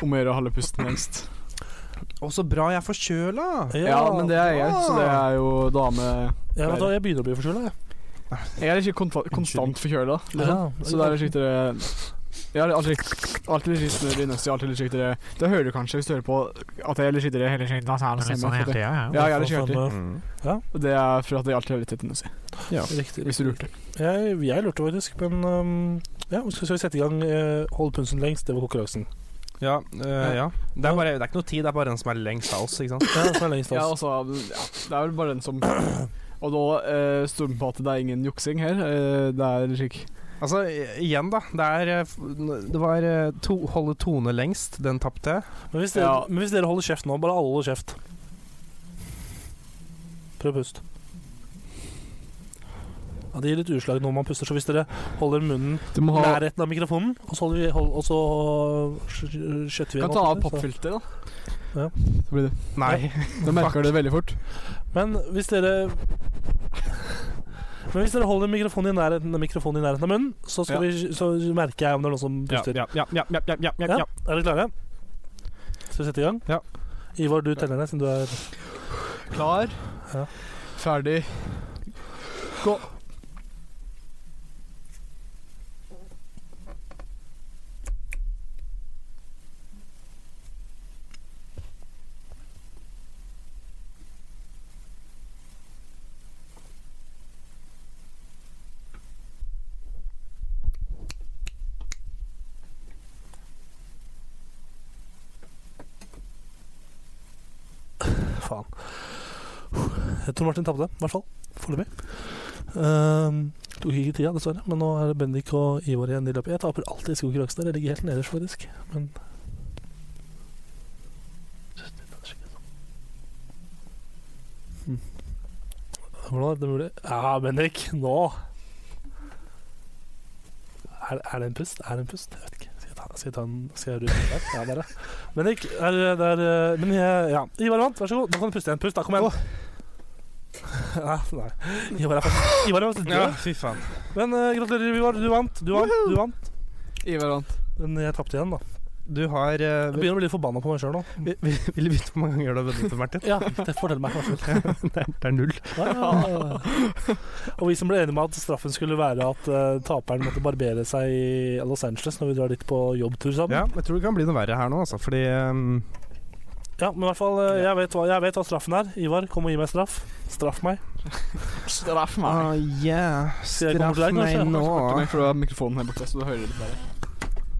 om å gjøre å holde pusten lengst.
Å, så bra jeg er forkjøla!
Ja, men det er jeg, så det er jo dame
jeg, vet, hva, jeg begynner å bli forkjøla, jeg.
Jeg er ikke konta- konstant forkjøla,
Ja,
så det er litt slikt dere Jeg har alltid, alltid litt slikt snørr i nøsta, alltid litt slikt dere Det hører du kanskje hvis du hører på at jeg er litt slikt dere hele tiden. Stemmer, for det- Ja, jeg er litt skjørtlig.
eh,
Og det er for at jeg alltid har litt tett i nøsta,
Riktig.
hvis du lurte.
Jeg, jeg lurte faktisk, men um, ja, skal skal vi sette i gang eh, Hold pulsen lengst? Det var konkurransen.
Ja, øh, ja. Det, er bare, det er ikke noe tid, det er bare den som er lengst av oss. ikke sant?
Ja, som er lengst
Ja,
av oss.
altså ja, Det er vel bare den som Og da eh, står det på at det er ingen juksing her. Eh, det er slik
Altså, i- igjen, da. Det, er, øh, f- det var øh, to, holde tone lengst, den tapte jeg.
Men hvis, dere,
Ja.
men hvis dere holder kjeft nå, bare alle holder kjeft Prøv å puste. Ja, det gir litt utslag når man puster, så hvis dere holder munnen
Du må ha
nærheten av mikrofonen, og så, holder vi, hold, og så sk- skjøtter vi
Kan
igjen
ta av
opp litt, så-
pappfilteret, da.
Ja.
Så blir det
Nei.
Da merker du det veldig fort.
Men hvis dere Men hvis dere holder mikrofonen i nærheten, mikrofonen i nærheten av munnen, så,
Ja.
skal vi, så merker jeg om det er noen som
Ja,
puster.
ja, ja, ja, ja, ja, ja, ja.
Ja. Er dere klare? Skal vi sette i gang?
Ja.
Ivar, du teller ned siden du er
Klar,
Ja.
ferdig, gå.
Faen. Jeg tror Martin tapte, i hvert fall. Foreløpig. Ehm, tok ikke tida, dessverre. Men nå er det Bendik og Ivar igjen i løpet. Jeg taper alltid i skogkonkurransen. Jeg ligger helt nederst, faktisk. Men Hm. Hvordan er det mulig? Ja, Bendik, nå er, er det en pust? Er det en pust? Jeg vet ikke. Skal jeg ta, skal jeg ta en Skal jeg rulle den der? Ja, der, ja. Men det er, det er eh, Men jeg, ja. Ivar vant, vær så god. Da kan du puste igjen. Pust, da. Kom igjen. Ja, nei. Ivar er faktisk Ivar er faktisk død.
Ja, fy faen.
Men eh, gratulerer, Ivar. Du vant. Du vant. Du vant.
Ivar vant.
Men jeg tapte igjen, da.
Du har øh,
Jeg begynner å bli forbanna på meg sjøl nå.
vil, vil, vil du vite hvor mange ganger du har vunnet, Martin?
Ja, det forteller meg kanskje litt.
Det er- det er null.
Ja. Og vi som ble enige med at straffen skulle være at eh, taperen måtte barbere seg i Los Angeles når vi drar dit på jobbtur sammen.
Ja, jeg tror det kan bli noe verre her nå, altså, fordi øh,
Ja, men i hvert fall, eh, jeg vet, hva, jeg vet hva straffen er. Ivar, kom og gi meg straff. Straff meg.
Straff
Ah, yeah.
Skal jeg komme
Straff
til deg,
meg
kanskje?
nå.
meg, for du har mikrofonen her borte, så du hører det bedre.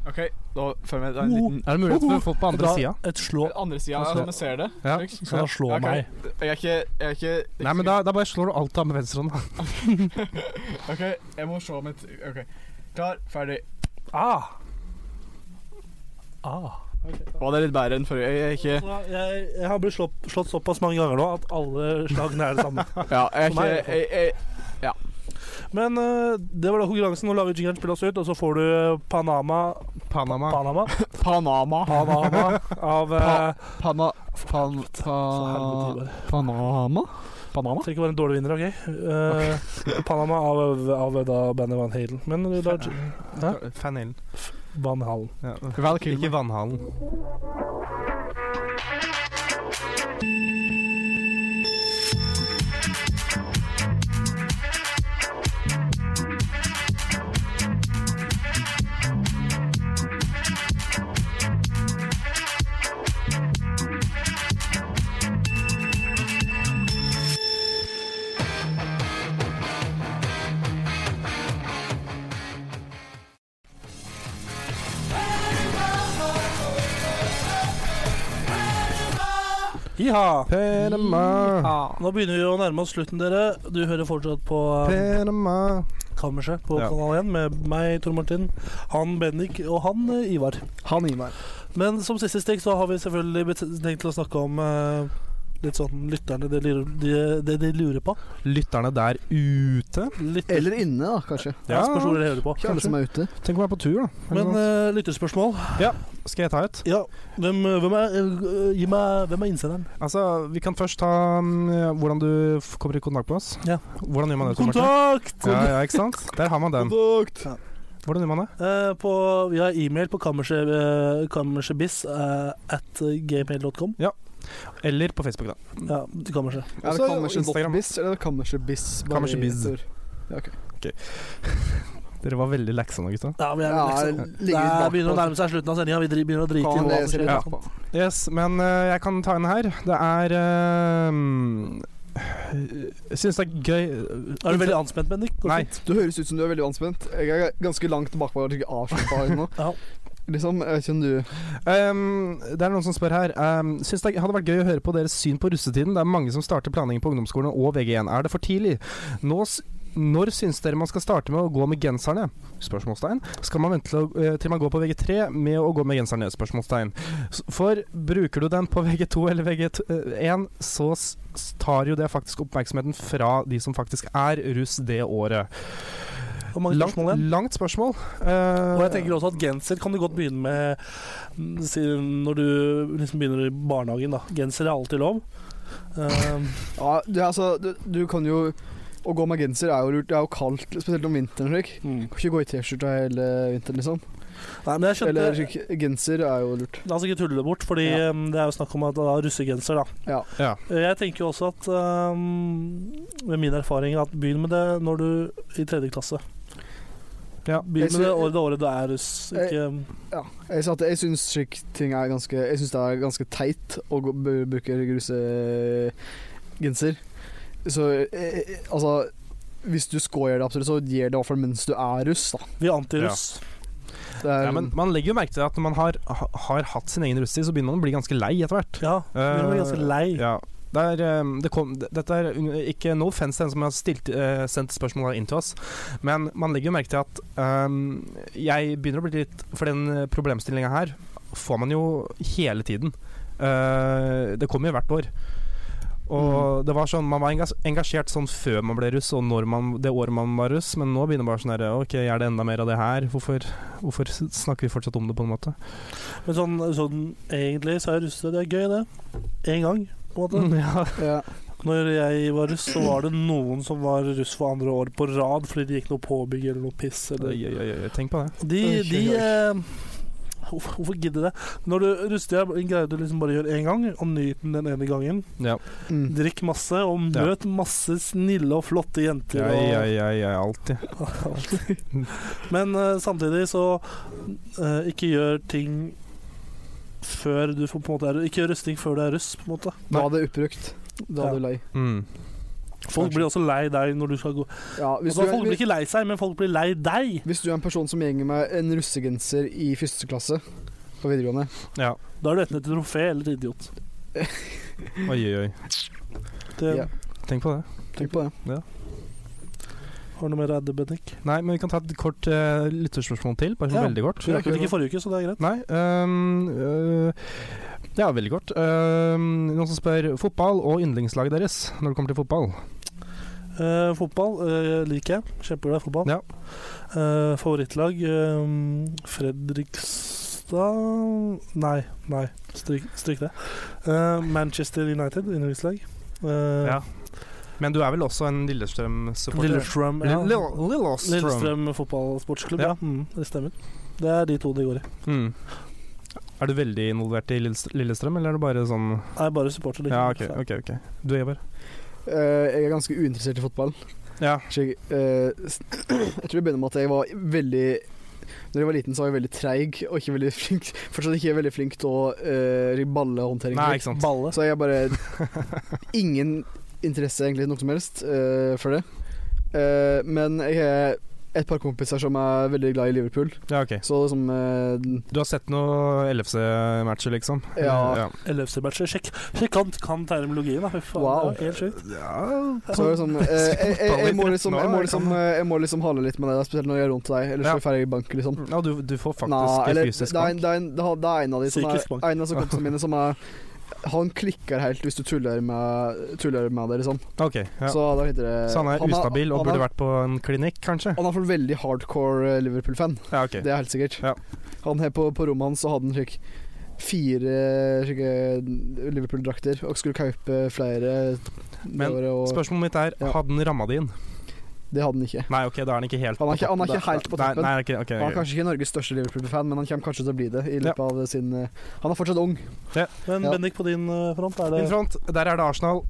OK, da følger jeg det er en
Oh.
liten
Er det mulighet for å få på
Og
andre
da
sida?
Et slå
Andre sida,
Altså-
sånn jeg ser det.
Ja.
Slik.
Så da slår
Ja, ok.
meg.
Jeg er ikke Jeg er ikke
Nei, men da, da bare slår du alt av med venstrehånda.
OK, jeg må se om et OK. Klar, ferdig.
Ah. Ah.
Å, det er litt bedre enn forrige. Jeg er ikke
Så Jeg, jeg har blitt slått, slått såpass mange ganger nå at alle slagene er det samme.
Ja, jeg Sånn er ikke
For meg, i hvert
jeg,
fall.
jeg, jeg,
Men eh, det var da konkurransen. Nå lager jingeren spille oss ut, og så får du eh, Panama
Panama.
Panama,
Panama.
Panama av eh,
Pana... Pan...
Helvete,
Pa,
Ivar.
Panama? Panama?
Trenger ikke være en dårlig vinner, OK? Eh, Panama av, av da bandet Van Halen. Men du da Hæ?
Fanhalen.
Van Halen.
Ja.
Val
Ikke vannhalen.
Iha!
Panama.
Nå begynner vi å nærme oss slutten, dere. Du hører fortsatt på eh,
Panama.
Kammerset på
Ja.
Kanal 1 med meg, Tor Martin, han Bendik og han eh, Ivar.
Han gir meg.
Men som siste stikk så har vi selvfølgelig bet- tenkt til å snakke om eh, litt sånn lytterne, det lurer- de- det de lurer på.
Lytterne der ute.
Lytter,
Eller inne, da, kanskje.
Ja,
spørsmål de hører på.
Ikke alle som er ute.
Tenk om jeg er på tur, da. Eller
Men
noe.
eh, lytterspørsmål.
eh, Skal jeg ta et?
Ja, hvem, eh, hvem er eh, Gi meg Hvem er innsenderen?
Altså, vi kan først ta mm, hvordan du f- kommer i kontakt med oss.
Ja.
Hvordan gjør man det? Tom Martin?
Kontakt!
Ja, ja, ikke sant? Der har man den. Hvordan gjør man det?
Eh, på, vi har e-mail på kammerset, eh, kammersetbiss eh, at gmail.com.
Ja. Eller på Facebook, da.
Ja, til kammerset.
Er det
Også Instagram.
Kammersbiss eller Kammersbiss? bare
Kammersbiss.
heter? Ja, ok.
Dere var veldig leksa nå, gutta.
Ja, vi er
Ja,
liksom,
ligger
det
litt
er-
bakpå.
begynner å nærme seg slutten av sendinga. Vi dri- begynner å drite i
Faen,
hva
det
som
ser
skjer.
jeg
Ja.
på.
Yes, men eh, jeg kan ta en her. Det er eh, Jeg syns det er gøy eh,
Er du veldig anspent, Bendik? Går det
Nei.
fint?
Du høres ut som du er veldig anspent. Jeg er ganske langt bakpå og avslappa nå.
Ja.
Liksom, jeg vet ikke om du
Um, det er noen som spør her. Um, syns det hadde vært gøy å høre på deres syn på russetiden. Det er mange som starter planlegging på ungdomsskolen og VG1. Er det for tidlig? Nå, s- når syns dere man skal starte med å gå med genserne? Spørsmålstegn. Skal man vente til, å, eh, til man går på VG3 med å gå med genserne? Spørsmålstegn. S- For bruker du den på VG2 eller VG1, eh, så s- s- tar jo det faktisk oppmerksomheten fra de som faktisk er russ det året.
Hvor mange
Langt,
spørsmål igjen?
langt spørsmål. Eh,
Og jeg tenker også at genser kan du godt begynne med mm, si- når du liksom begynner i barnehagen. da Genser er alltid lov. Um,
Ja, du, altså, du, du kan jo Å gå med genser er jo lurt. Det er jo kaldt, spesielt om vinteren. Slik.
mm.
Kan ikke gå i T-skjorta hele vinteren, liksom.
Nei, men jeg skjønte
Eller slik, genser er jo lurt.
La oss ikke tulle det bort, Fordi
Ja.
um, det er jo snakk om at det er russegenser. da
Ja.
Ja.
Jeg tenker jo også at um, Med min erfaring at begynn med det når du i tredje klasse.
Ja.
Begynn
Jeg
med det
sy-
året, det året du er russ. Ikke, ehm,
Ja. Jeg, sa at jeg syns slik ting er ganske Jeg synes det er ganske teit å gå, bu- bruke grusegenser. Så eh, eh, altså Hvis du skal gjøre det absolutt, så gjør det i hvert fall mens du er russ, da.
vi er antiruss.
Det er,
Ja, men man legger jo merke til at når man har, ha- har hatt sin egen russetid, så begynner man å bli ganske lei etter hvert.
Ja. vi blir ganske lei.
Eh, Ja. Det er, eh, det kom, det- dette er un- ikke no offense til den som har stilt, eh, sendt spørsmål inn til oss, men man legger jo merke til at eh, jeg begynner å bli litt For den problemstillinga her får man jo hele tiden. Eh, det kommer jo hvert år. Og det var sånn, Man var engas- engasjert sånn før man ble russ, og når man, det året man var russ, men nå begynner bare sånn her Ok, er det enda mer av det her? Hvorfor, hvorfor snakker vi fortsatt om det, på en måte?
Men sånn, sånn egentlig så er russe det er gøy, det. Én gang, på en måte.
Ja.
ja.
Når jeg var russ, så var det noen som var russ for andre år på rad fordi det gikk noe påbygg eller noe piss. Eller.
Oi, oi, oi, oi, Tenk på det.
De,
Oi,
de
oi, oi.
eh, Hvorfor hvorfor gidde det? Når du ruster deg, greier du liksom bare å gjøre én gang, og nyt den den ene gangen.
Ja.
mm.
Drikk masse, og møt masse snille og flotte jenter.
Ja,
og-
ja, ja, ja, alltid.
Men eh, samtidig så eh, ikke gjør ting før du får på en måte er, Ikke gjør rusting før du er russ, på en måte.
Da er det oppbrukt. Da
Ja.
er du lei.
Mm.
Folk blir også lei deg når du skal gå
Ja, hvis,
altså,
du
Folk
er,
blir ikke lei seg, men folk blir lei deg.
hvis du er en person som gjenger med en russegenser i første klasse på videregående
Ja.
Da er du enten et trofé eller et idiot.
Oi, oi, oi.
Det,
Ja.
Tenk på det.
Tenk på det.
Har du noe mer Adde Bendik?
Nei, men vi kan ta et kort eh, lytterspørsmål til. Bare sånn
Ja.
veldig kort.
Vi rakk vel ikke forrige uke, så det er greit.
Nei. øhm, øh, ja, veldig kort. Øhm, noen som spør fotball og yndlingslaget deres når det kommer til fotball.
Eh, fotball eh, liker jeg. Kjempeglad i fotball.
Ja.
Eh, favorittlag eh, Fredrikstad Nei, nei, stryk, stryk det. Eh, Manchester United, innholdslag. Eh,
Ja. Men du er vel også en Lillestrøm-supporter?
Lillestrøm, ja.
Lill- Lill- Lillestrøm.
Lillestrøm fotballsportsklubb, ja.
Ja.
Mm, det stemmer. Det er de to det går i.
Mm. Er du veldig involvert i Lillest- Lillestrøm, eller er du bare sånn
Jeg er bare supporter.
Ja, OK. ok, ok Du, Eber?
Eh, jeg er ganske uinteressert i fotball.
Ja.
Så jeg, eh, s- jeg tror det begynner med at jeg var veldig Når jeg var liten, så var jeg veldig treig og ikke veldig flink Fortsatt ikke veldig flink til å uh, ballehåndtering.
Nei, ikke sant.
Balle.
Så jeg har bare ingen interesse egentlig noe som helst eh, for det. Eh, men jeg har et par kompiser som er veldig glad i Liverpool,
Ja, ok
så liksom eh,
Du har sett noe LFC-matcher, liksom?
Ja.
LFC-matcher. Sjekk, sjekk han kan terminologien, da. Fy faen,
Wow.
det er helt sjukt.
Så liksom, eh, jeg, jeg, jeg, må liksom, jeg, må liksom, eh, jeg må liksom hale litt med deg, da, spesielt når jeg er rundt deg. Ellers
Ja.
så får jeg bank, liksom.
Ja, du, du får faktisk
Nei, eller,
fysisk
det, er en,
bank.
det, er en, det har- det er en av de som
Psykisk bank.
er, en av de kompisene mine som er Han klikker helt hvis du tuller med, tuller med det, liksom.
Ok, ja. så,
Så da heter det
han er ustabil og
han er-
burde vært på en klinikk, kanskje?
Han er for veldig hardcore eh, Liverpool-fan,
Ja, ok.
det er helt sikkert.
Ja.
Han her på, på rommet hans så hadde han slik fire eh, slike Liverpool-drakter og skulle kaupe flere. det
Men
året, og,
Spørsmålet mitt er,
Ja.
hadde den ramma din?
Det hadde han ikke.
Nei, ok, da er han ikke helt
Han er ikke- han er
toppen.
ikke helt på
Nei,
toppen.
Nei, ok, ok,
Han er
ok.
kanskje ikke Norges største Liverpool-fan, men han kommer kanskje til å bli det. i løpet av sin... eh, Han er fortsatt ung.
Men
Ja.
Bendik, på din eh, front, er det
Min front, der er det Arsenal,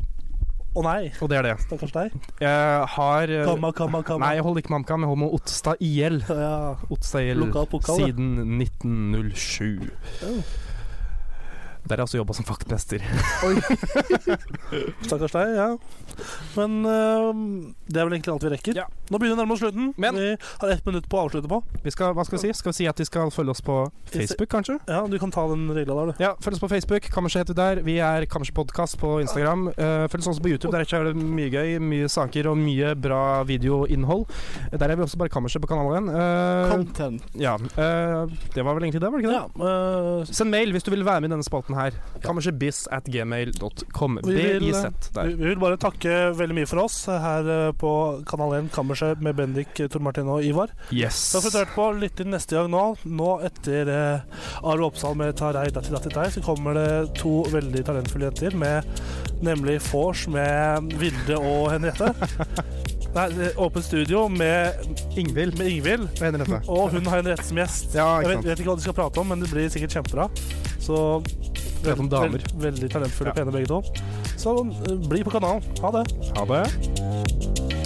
Å nei,
og det er det.
stakkars deg.
Jeg har eh,
Kamma, kamma, kamma.
Nei, jeg holder ikke med HamKam, jeg holder med Otstad IL.
Ja.
Otstad IL
Lokal pokal, ja.
siden 1907. Der har jeg også jobba som vaktmester.
Stakkars deg, ja. Men eh, det er vel egentlig alt vi rekker.
Ja.
Nå begynner vi å nærme oss slutten.
Men-
vi har ett minutt på å avslutte på.
Vi skal, hva skal vi si? Skal vi si at de skal følge oss på Facebook, kanskje?
Ja, Du kan ta den regla der, du.
Ja, følg oss på Facebook. Kammerset heter vi der. Vi er Kammerset Podcast på Instagram. Eh, følg oss også på YouTube. Der er det mye gøy, mye saker og mye bra videoinnhold. Der er vi også bare Kammerset på kanalen. Eh,
Content.
ja, eh, det var vel egentlig det, var det ikke det?
Ja, eh,
Send mail hvis du vil være med i denne spalten her. Kammersetbiz at gmail.com.
Vi vil-
B-I-Z
vi
der.
vi vil bare takke veldig mye for oss her eh, på Kanal 1 Kammerset med Bendik, eh, Tor Martin og Ivar.
Yes.
Takk for at du hørte på. Lytt inn neste gang nå. Nå etter eh, Are Oppsal med Tarei Datti Datti Tei, så kommer det to veldig talentfulle jenter med nemlig Fors med Vilde og Henriette. Nei, det er Åpent studio med,
Ingvild
med Ingvild.
og Henriette.
Og hun har Henriette som gjest.
Ja,
Jeg
ikke
vet,
sant.
vet ikke hva de skal prate om, men det blir sikkert kjempebra. Så
Prate om damer.
veldig talentfulle og
Ja.
pene begge to. Så eh, bli på kanalen. Ha det.
Ha det.